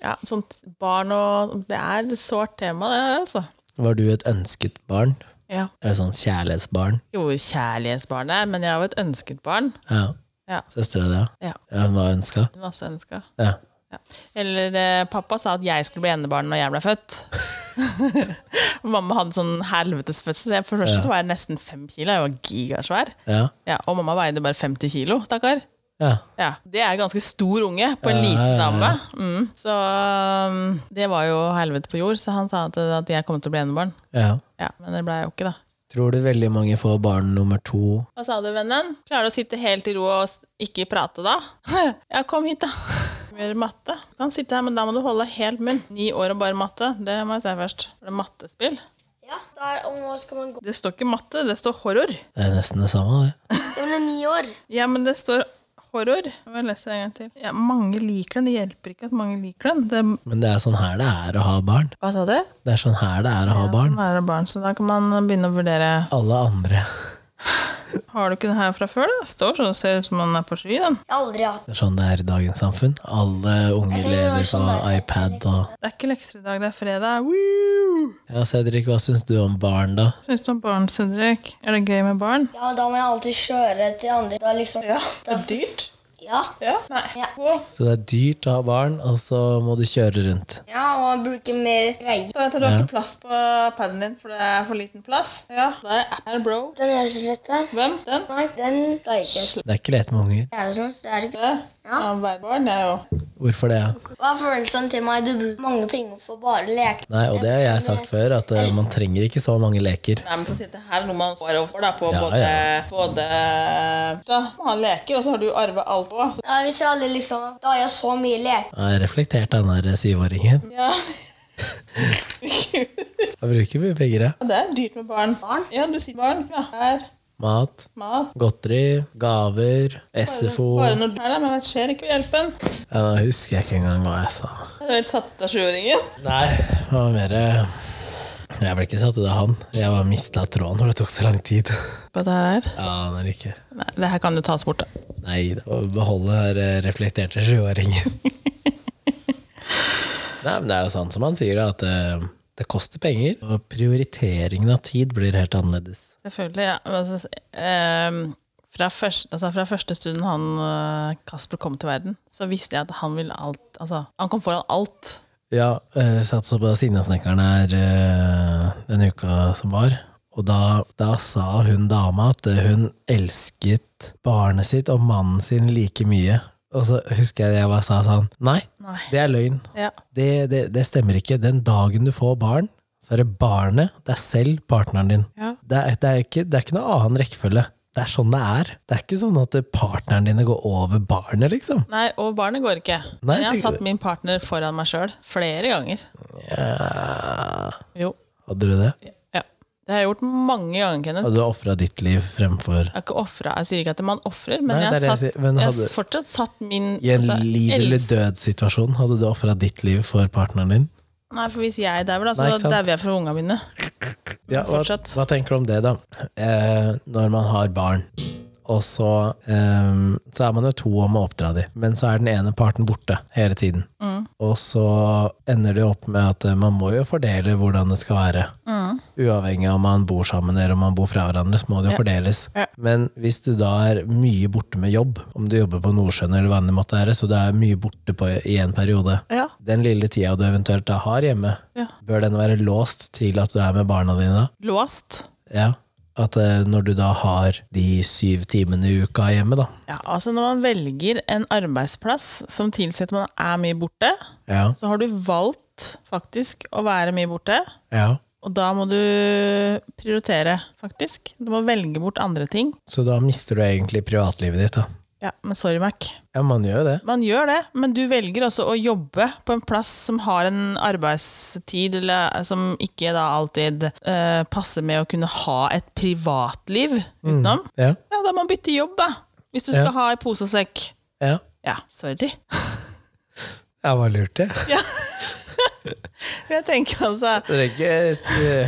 S2: ja, sånt barn og Det er et sårt tema, det her, altså.
S1: Var du et ønsket barn?
S2: Ja.
S1: Eller sånn kjærlighetsbarn?
S2: Ikke hvor kjærlighetsbarn det er, men jeg har jo et ønsket barn.
S1: Ja.
S2: Ja.
S1: Søstera di, ja.
S2: Ja,
S1: ja? Hun var ønska?
S2: hun er også ønsket.
S1: Ja.
S2: Ja. Eller eh, pappa sa at jeg skulle bli enebarn når jeg ble født. mamma hadde sånn helvetes fødsel. Jeg- For det første så var jeg nesten fem kilo. Jeg var gigasvær.
S1: ja.
S2: Ja, og mamma veide bare 50 kilo, stakkar.
S1: Ja.
S2: Ja, Det er en ganske stor unge på en
S1: Ja, ja, ja.
S2: liten dame. Mm. Så um, det var jo helvete på jord, så han sa at, at jeg kom til å bli enebarn.
S1: ja.
S2: Ja, men det ble jeg jo ikke, da.
S1: Tror du veldig mange får barn nummer to?
S2: Hva sa du, vennen? Klarer du å sitte helt i ro og s- ikke prate da? Ja, kom hit, da. Gjør matte. Du kan sitte her, men da må du holde helt munn. Ni år og bare matte, det må jeg si først. For det er mattespill.
S3: Ja, da er- og nå skal man gå.
S2: Det står ikke matte, det står horror.
S1: Det er nesten det samme, det.
S3: Ja, men det er ni år.
S2: Ja, men det står horror. Jeg må lese det en gang til. Ja, mange liker den. Det hjelper ikke at mange liker den. Det...
S1: Men det er sånn her det er å ha barn.
S2: Hva sa du?
S1: Det er sånn her det er å ha barn.
S2: Sånn er det barn, så da kan man begynne å vurdere.
S1: Alle andre.
S2: Har du ikke den her fra før? da? Det står sånn, det ser ut som man er på sky, den.
S3: Jeg har aldri hatt
S1: Det er sånn det er i dagens samfunn. Alle unge lever
S2: sånn
S1: på iPad og
S2: Det er ikke lekser i dag, det er fredag. Woo!
S1: Ja, Cedric, hva syns du om barn, da?
S2: Syns du om barn, Cedric? Er det gøy med barn?
S3: Ja, da må jeg alltid kjøre til andre. Da liksom
S2: Ja. Det er dyrt.
S3: Ja.
S2: Ja. Nei.
S3: Ja.
S2: Wow.
S1: Så det er dyrt å ha barn, og så må du kjøre rundt.
S3: ja, og man bruker mer greier.
S2: Så jeg tar du har ikke plass på paden din, for det er for liten plass. Ja. Der er bro.
S3: Den gjør så slett der.
S2: Hvem? Den?
S3: Nei, den pleier ikke jeg.
S1: Det er ikke lett med unger.
S3: Jeg synes det er ikke...
S2: Det? Ja. Hver barn er jo
S1: Hvorfor det? ja?
S3: Hva er følelsen til meg? Du bruker mange penger for bare leke.
S1: Nei, og det har jeg sagt før, at eh, man trenger ikke så mange leker.
S2: Nei, men så sitter her noe man står overfor, da, på
S1: Ja,
S2: både,
S1: ja.
S2: både Da må han leker, og så har du arva alt på. Så.
S3: Ja, hvis jeg aldri liksom... Da har jeg så mye lek.
S1: Jeg reflekterte han der eh, syvåringen.
S2: Ja.
S1: Han bruker mye penger, ja.
S2: Og det er dyrt med barn.
S3: Barn?
S2: Ja, du sier barn. Ja. Her.
S1: Mat,
S2: Mat.
S1: godteri, gaver, SFO
S2: Bare
S1: ja,
S2: når du er der, men jeg ser ikke på hjelpen.
S1: Nå husker jeg ikke engang hva jeg sa.
S2: Jeg er helt satt av sjuåringen.
S1: Nei, det var mer eh, Jeg ble ikke satt ut av han. Jeg bare mista tråden, for det tok så lang tid.
S2: Hva det her er?
S1: Ja, han er ikke
S2: Nei, det her kan jo tas bort, da.
S1: Nei, det var å beholde den der reflekterte sjuåringen. Nei, men det er jo sant som han sier, da, at eh, det koster penger. Og prioriteringen av tid blir helt annerledes.
S2: Selvfølgelig, ja. Men Altså, ehm, fra, først, altså, fra første stunden han eh, Kasper kom til verden, så visste jeg at han ville alt. Altså, han kom foran alt.
S1: Ja, eh, satt så på Signasnekkeren her eh, denne uka som var. Og da, da sa hun dama at hun elsket barnet sitt og mannen sin like mye. Og så husker jeg jeg bare sa sånn Nei,
S2: Nei.
S1: det er løgn.
S2: Ja.
S1: det, det, det stemmer ikke. Den dagen du får barn, så er det barnet, det er selv partneren din.
S2: Ja.
S1: Det, er, det, er ikke, det er ikke noe annen rekkefølge. Det er sånn det er. Det er ikke sånn at partneren dine går over barnet, liksom.
S2: Nei, og barnet går ikke.
S1: Nei,
S2: Men jeg har
S1: det-
S2: satt min partner foran meg sjøl flere ganger.
S1: Ja.
S2: Jo.
S1: Hadde du det?
S2: Ja. Det har jeg gjort mange ganger, Kenneth.
S1: Hadde du ofra ditt liv fremfor
S2: Jeg, har ikke offret, jeg sier ikke at man ofrer, men
S1: Nei,
S2: jeg
S1: det er
S2: har
S1: det jeg
S2: satt-
S1: sier. Men
S2: jeg har
S1: hadde-
S2: fortsatt satt min
S1: I en
S2: altså,
S1: liv eller
S2: els-
S1: død-situasjon? Hadde du ofra ditt liv for partneren din?
S2: Nei, for hvis jeg dauer, da, så
S1: Nei, ikke sant.
S2: dauer jeg for unga mine.
S1: Ja, hva,
S2: Fortsatt.
S1: hva tenker du om det, da? Eh, når man har barn, og så, eh, så er man jo to om å oppdra de, men så er den ene parten borte hele tiden.
S2: Mm.
S1: Og så ender det jo opp med at eh, man må jo fordele hvordan det skal være. Uavhengig av om man bor sammen eller om man bor fra hverandre, så må det jo fordeles.
S2: Mm. Ja.
S1: Men hvis du da er mye borte med jobb, om du jobber på Nordsjøen eller hva enn det måtte være, så du er mye borte på, i en periode,
S2: Ja.
S1: den lille tida du eventuelt da har hjemme,
S2: Ja.
S1: bør den være låst til at du er med barna dine da?
S2: Låst.
S1: Ja, at eh, når du da har de syv timene i uka hjemme, da.
S2: Ja, altså Når man velger en arbeidsplass som tilsier at man er mye borte,
S1: Ja.
S2: så har du valgt faktisk å være mye borte.
S1: ja.
S2: Og da må du prioritere, faktisk. Du må velge bort andre ting.
S1: Så da mister du egentlig privatlivet ditt, da.
S2: Ja, Men sorry, Mac.
S1: Ja, man gjør jo det.
S2: Man gjør det, men du velger også å jobbe på en plass som har en arbeidstid eller, eh, som ikke da alltid eh, passer med å kunne ha et privatliv utenom.
S1: Ja.
S2: Ja, da må man bytte jobb, da. Hvis du
S1: Ja.
S2: skal ha i pose og sekk.
S1: Ja.
S2: Ja, sorry.
S1: Jeg var lurt, jeg.
S2: Jeg tenker altså
S1: Dere ikke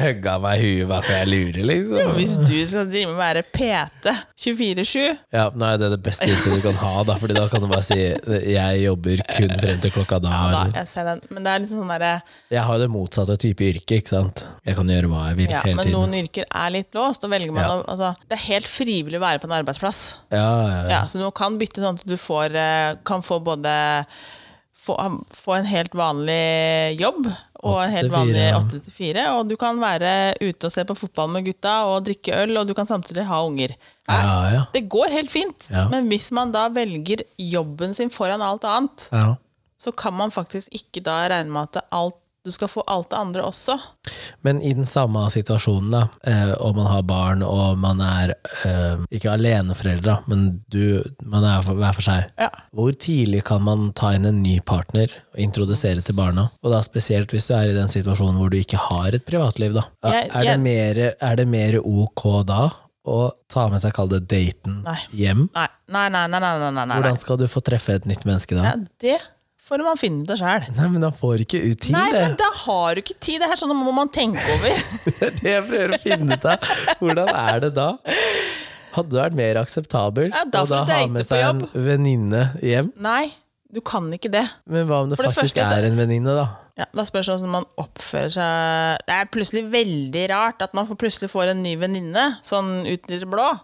S1: hogga meg i huet bare for jeg lurer, liksom.
S2: Hvis du skal drive med å være PT 24-7
S1: Ja, nei, det er det beste yrket du kan ha, da, Fordi da kan du bare si eh, jeg jobber kun frem til klokka da.
S2: da,
S1: eller-
S2: jeg ser den. Men det er liksom sånn derre
S1: Jeg har jo det motsatte type yrke, ikke sant. Jeg kan gjøre hva jeg vil
S2: ja,
S1: hele
S2: Men
S1: tiden.
S2: noen yrker er litt låst, og velger man å altså, Det er helt frivillig å være på en arbeidsplass.
S1: Ja, ja, ja.
S2: Ja, så du kan bytte sånn at du får, eh, kan få både få, få en helt vanlig jobb og
S1: Åtte
S2: en
S1: til
S2: helt vanlig
S1: fire, ja.
S2: åtte til fire. Og du kan være ute og se på fotball med gutta og drikke øl, og du kan samtidig ha unger.
S1: Ja, ja.
S2: Det går helt fint,
S1: Ja.
S2: men hvis man da velger jobben sin foran alt annet,
S1: ja.
S2: så kan man faktisk ikke da regne med at alt, du skal få alt det andre også.
S1: Men i den samme situasjonen, da, eh, om man har barn og man er eh, ikke aleneforeldre, da, men du, man er for, hver for seg,
S2: Ja.
S1: hvor tidlig kan man ta inn en ny partner og introdusere til barna? Og da spesielt hvis du er i den situasjonen hvor du ikke har et privatliv, da. er,
S2: Jeg-
S1: det
S2: jeg-
S1: mer, er det mer ok da å ta med seg, kall det daten,
S2: Nei.
S1: hjem?
S2: Nei, nei, nei, nei, nei, nei, nei, nei.
S1: Hvordan skal du få treffe et nytt menneske da?
S2: Ja, det får man finne ut av sjæl.
S1: Nei, men han får ikke ut tid,
S2: Nei,
S1: det.
S2: men da har du ikke tid. Det her sånn, må man tenke over.
S1: Det er det jeg prøver å finne ut av. Hvordan er det da? Hadde det vært mer akseptabelt
S2: Ja, da
S1: å
S2: får
S1: da
S2: du
S1: ha
S2: date
S1: med
S2: på
S1: seg en
S2: jobb.
S1: venninne hjem?
S2: Nei, du kan ikke det.
S1: Men hva om det,
S2: For det
S1: faktisk
S2: første så-
S1: er en venninne, da?
S2: Ja, da spørs det hvordan man oppfører seg. Det er plutselig veldig rart at man får- plutselig får en ny venninne, sånn ut i det blå.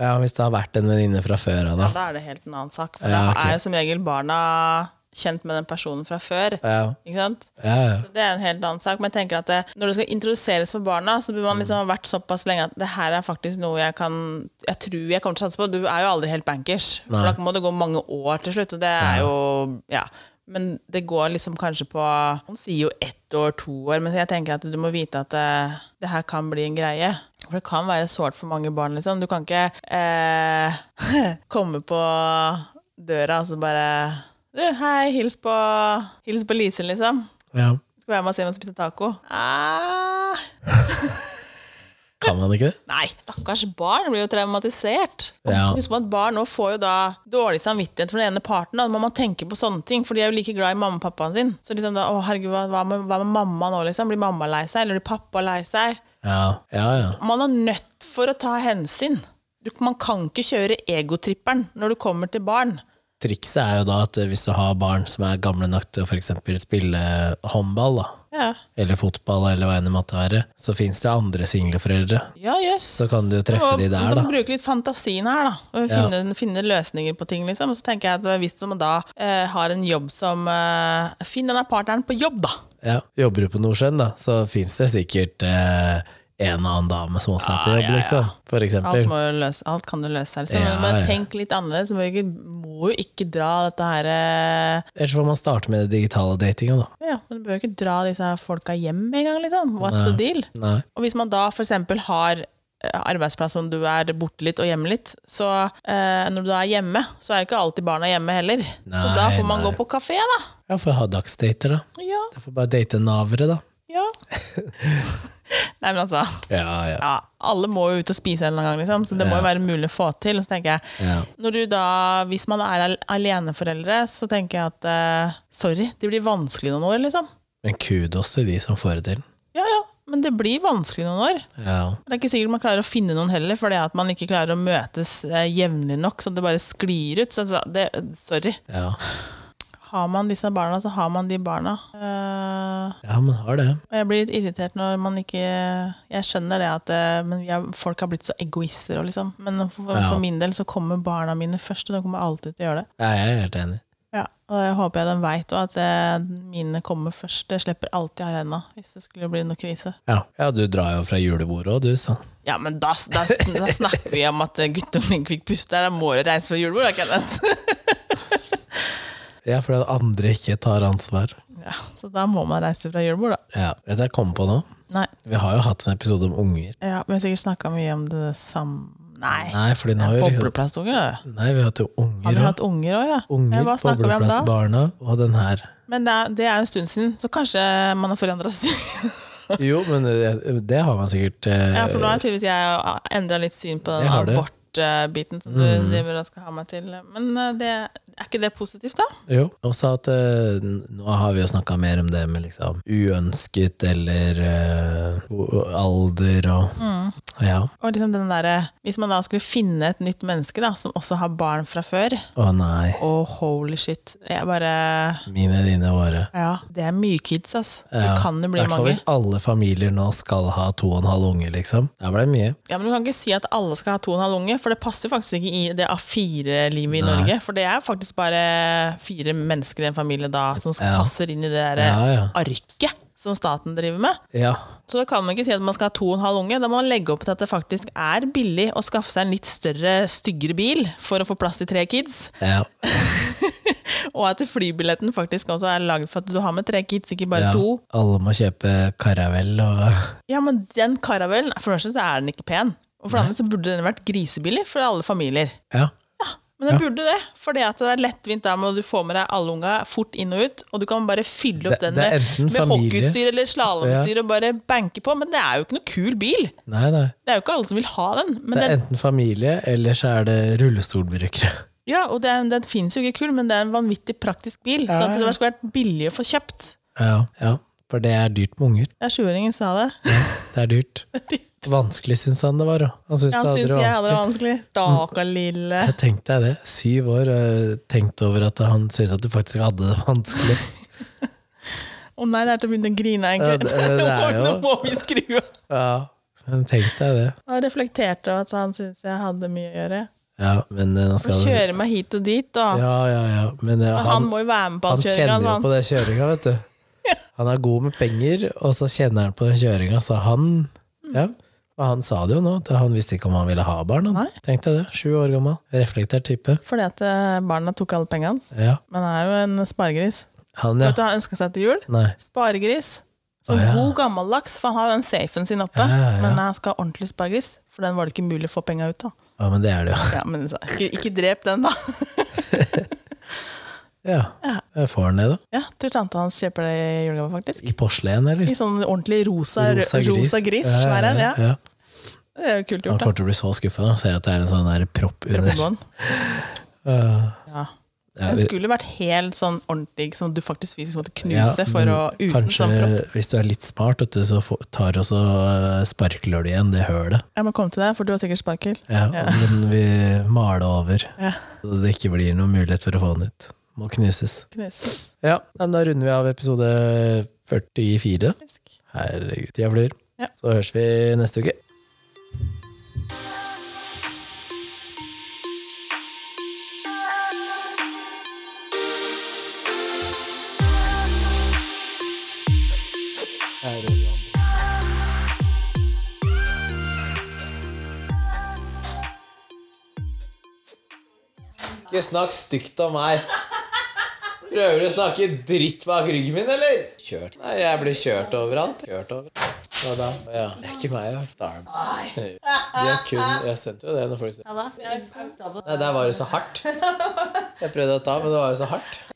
S1: Ja, Hvis det har vært en venninne fra før av, da.
S2: Da er det helt en annen sak. For
S1: Ja,
S2: da
S1: ok.
S2: er jo som regel barna kjent med den personen fra før.
S1: Ja,
S2: Ikke sant?
S1: ja, ja.
S2: Det er en helt annen sak, men jeg tenker at det, når det skal introduseres for barna, så bør man liksom ha vært såpass lenge at det her er faktisk noe jeg kan Jeg tror jeg kommer til å satse på. Du er jo aldri helt bankers. For da må det gå mange år til slutt, og det er jo Ja. Men det går liksom kanskje på Man sier jo ett år, to år, men jeg tenker at du må vite at det, det her kan bli en greie. For det kan være sårt for mange barn, liksom. Du kan ikke eh, komme på døra og så bare Du, hei, hils på, hils på Lise, liksom.
S1: ja.
S2: Skal være med og se meg spise taco. Ah.
S1: Kan man ikke det?
S2: Nei, stakkars barn blir jo traumatisert. Og
S1: Ja.
S2: Husk på at barn nå får jo da dårlig samvittighet for den ene parten. Da må man tenke på sånne ting, for de er jo like glad i mamma og pappaen sin. Så liksom da, å herregud, hva, hva, med, hva med mamma nå, liksom? Blir mamma lei seg, eller blir pappa lei seg?
S1: Ja, ja. ja.
S2: Man er nødt for å ta hensyn. Du, man kan ikke kjøre egotripperen når du kommer til barn.
S1: Trikset er jo da at eh, hvis du har barn som er gamle nok til å for eksempel spille håndball, da,
S2: Ja,
S1: eller fotball, eller hva enn det måtte være, så fins det jo andre singleforeldre.
S2: ja jøss.
S1: Så kan du treffe de der,
S2: Du
S1: da.
S2: må bruke litt fantasien her, da. Og
S1: Ja.
S2: finne, finne løsninger på ting, liksom. Og så tenker jeg at hvis man da eh, har en jobb som eh, Finn denne partneren på jobb, da!
S1: Ja, Jobber du på Nordsjøen, da, så fins det sikkert eh, en og annen dame som også er på jobb, liksom. For
S2: Ah, Alt,
S1: eksempel.
S2: må jo løse, alt kan jo løse seg, liksom.
S1: Ja,
S2: Men
S1: ja.
S2: tenk litt annerledes. Du må jo ikke, må jo ikke dra dette her eh,
S1: Ellers får man starte med det digitale datinga, da.
S2: Ja, men du bør jo ikke dra disse her folka hjem engang, liksom. What's the deal?
S1: Nei.
S2: Og hvis man da for eksempel har eh, arbeidsplass som du er borte litt og hjemme litt, så eh, når du da er hjemme, så er jo ikke alltid barna hjemme heller. så da
S1: Nei,
S2: får man
S1: nei.
S2: gå på kafé, da.
S1: Ja, får ha dagsdater, da.
S2: Ja,
S1: Jeg får bare date navere, da.
S2: ja. Nei, men altså
S1: Ja, ja.
S2: ja, Alle må jo ut og spise en eller annen gang, liksom, så det må jo være mulig å få til. Så tenker jeg,
S1: Ja.
S2: når du da, Hvis man er al- aleneforeldre, så tenker jeg at eh, sorry, det blir vanskelig noen år, liksom.
S1: Men kudos til de som får det til.
S2: Ja, ja, men det blir vanskelig noen år.
S1: Ja.
S2: Det er ikke sikkert man klarer å finne noen heller, for det at man ikke klarer å møtes eh, jevnlig nok, så det bare sklir ut. Så så det, sorry.
S1: Ja,
S2: Har man disse barna, så har man de barna. Eh,
S1: ja man har det.
S2: og jeg blir litt irritert når man ikke Jeg skjønner det at eh, men vi er, folk har blitt så egoister, og liksom. Men for, for,
S1: Ja.
S2: for min del så kommer barna mine først, og de kommer alltid til å gjøre det.
S1: Ja, jeg er helt enig.
S2: Ja, og jeg håper jeg de veit òg, at eh, mine kommer først. Det slipper alltid jeg har henda hvis det skulle bli noe krise.
S1: Ja, ja du drar jo fra julebordet òg, du, så.
S2: Ja, men da, da, da snakker vi om at eh, guttungen ikke fikk puste. Da må du reise fra julebord, da, Kenneth.
S1: Ja, fordi at andre ikke tar ansvar.
S2: Ja, så da må man reise fra julebord, da.
S1: Ja, Vet du hva jeg kom på nå?
S2: Nei,
S1: Vi har jo hatt en episode om unger.
S2: ja, vi har sikkert snakka mye om det samme Nei.
S1: Nei, fordi nå har vi liksom
S2: Bobleplastunger, da.
S1: Nei, vi har hatt jo
S2: Har
S1: unger
S2: vi
S1: òg.
S2: hatt unger òg, ja? ja?
S1: Unger,
S2: Hva snakker vi om da?
S1: bobleplassbarna og den her.
S2: Men det er, det er en stund siden, så kanskje man har forandra seg.
S1: Jo, men det, det har man sikkert eh,
S2: ja, for nå har jeg tydeligvis jeg endra litt syn
S1: Det
S2: på
S1: Mm.
S2: den
S1: har du.
S2: abortbiten som du driver og skal ha meg til. Men eh, det, er ikke det positivt, da?
S1: Jo. Også at eh, n- nå har vi jo snakka mer om det med liksom uønsket eller eh, o- alder og
S2: Mm.
S1: Ja.
S2: Og liksom den der, Hvis man da skulle finne et nytt menneske da, som også har barn fra før
S1: Å nei.
S2: Å, holy shit. Jeg bare
S1: Mine, dine, våre.
S2: Ja, det er mye kids, ass.
S1: Ja.
S2: Det kan det bli
S1: Hvertfall
S2: mange.
S1: hvis alle familier nå skal ha to og en halv unge, liksom. Der ble det mye.
S2: Ja, Men du kan ikke si at alle skal ha to og en halv unge, for det passer faktisk ikke i det A4-livet i
S1: Nei.
S2: Norge. For det er faktisk bare fire mennesker i en familie da som
S1: Ja.
S2: passer inn i det der
S1: Ja, ja.
S2: arket som staten driver med.
S1: Ja.
S2: Så da kan man ikke si at man skal ha to og en halv unge. Da må man legge opp til at det faktisk er billig å skaffe seg en litt større, styggere bil for å få plass til tre kids.
S1: ja.
S2: Og at flybilletten faktisk også er lagd for at du har med tre kids, ikke bare
S1: ja.
S2: to.
S1: Alle må kjøpe karavell og
S2: Ja, men den karavellen, for det første så er den ikke pen. Og for det andre så burde den vært grisebillig for alle familier.
S1: Ja.
S2: Men den burde det, for det at det er lettvint da må du få med deg alle unga fort inn og ut, og du kan bare fylle opp
S1: Det-
S2: den
S1: det er
S2: med,
S1: enten
S2: med
S1: familie-
S2: hockeyutstyr eller slalåmstyr og bare banke på, men det er jo ikke noe kul bil.
S1: Nei, nei.
S2: Det er jo ikke alle som vil ha den. Men
S1: Det er
S2: den,
S1: enten familie, eller så er det rullestolbrukere.
S2: ja, og den, den finnes jo ikke kul, men det er en vanvittig praktisk bil, så at det skulle vært billig å få kjøpt.
S1: Ja, ja. For det er dyrt med unger.
S2: Ja, sjuåringen sa det.
S1: Det er dyrt. Vanskelig syns han det var òg. Han syns
S2: Han
S1: det
S2: syns
S1: hadde
S2: jeg
S1: vært
S2: hadde det
S1: vanskelig.
S2: vanskelig. Daka lille.
S1: Jeg tenkte deg det. Syv år og tenkte over at han syntes at du faktisk hadde det vanskelig.
S2: Å nei, det er til å begynne å grine,
S1: Ja,
S2: egentlig.
S1: det- det er
S2: Nå
S1: jo-
S2: må vi skru av.
S1: Ja. Men tenk deg det.
S2: Han reflekterte over at han syntes jeg hadde mye å gjøre.
S1: Ja, men eh, nå
S2: Og
S1: skal
S2: kjøre meg hit og dit, da.
S1: Ja, ja, ja. Men eh,
S2: Men han,
S1: han,
S2: må jo være med på
S1: han
S2: all kjøringa.
S1: kjenner jo
S2: han.
S1: på den kjøringa, vet du. Han er god med penger, og så kjenner han på den kjøringa, så han
S2: Mm.
S1: Ja. Og han sa det jo nå, at han visste ikke om han ville ha barn. Han.
S2: Nei.
S1: Tenkte jeg det. Sju år gammel. Reflektert type.
S2: Fordi at eh, barna tok alle pengene hans.
S1: Ja.
S2: Men han er jo en sparegris.
S1: Han, ja.
S2: Vet du hva han ønska seg til jul?
S1: Nei.
S2: Sparegris. Så
S1: Å, ja.
S2: god gammeldags, for han har jo den safen sin oppe.
S1: Ja, ja, ja.
S2: Men han skal ha ordentlig sparegris, for den var det ikke mulig å få penga ut av.
S1: Ja, men det er det jo.
S2: Ja, men så, ikke, ikke drep den, da.
S1: Ja. Jeg får han det, da.
S2: Ja, Tror tanta hans kjøper det i julegave, faktisk.
S1: I porselen, eller?
S2: I sånn ordentlig rosa, rosa gris. Rosa gris svær en, ja.
S1: ja.
S2: Det er jo kult
S1: Han
S2: gjort, da.
S1: kommer til å bli så skuffa når han ser at det er en sånn der propp
S2: Dere på
S1: under.
S2: bånd. Ja.
S1: Ja,
S2: Den
S1: vi-
S2: skulle vært helt sånn ordentlig, som du faktisk fysisk måtte
S1: ja,
S2: knuse for å
S1: men
S2: uten
S1: Kanskje
S2: sånn propp.
S1: hvis du er litt smart, vet du, så får- tar og så eh, sparkler du igjen det hølet.
S2: Jeg må komme til deg, for du har sikkert sparkel.
S1: Ja,
S2: Ja.
S1: Men vi maler over,
S2: Ja.
S1: så det ikke blir noen mulighet for å få den ut. Må knuses.
S2: Knuse.
S1: Ja, nei, men Da runder vi av episode 44.
S2: Fisk.
S1: Herregud, tida flyr.
S2: Ja.
S1: Så høres vi neste uke. Ikke snakk stygt om meg. Prøver du å snakke dritt bak ryggen min, eller? Kjørt. Nei, jeg blir kjørt overalt. Kjørt over. Hva da? Ja. Det er ikke meg, da. Darn. De er kun Jeg sendte jo det når folk sier Nei, der var det så hardt. Jeg prøvde å ta, men det var jo så hardt.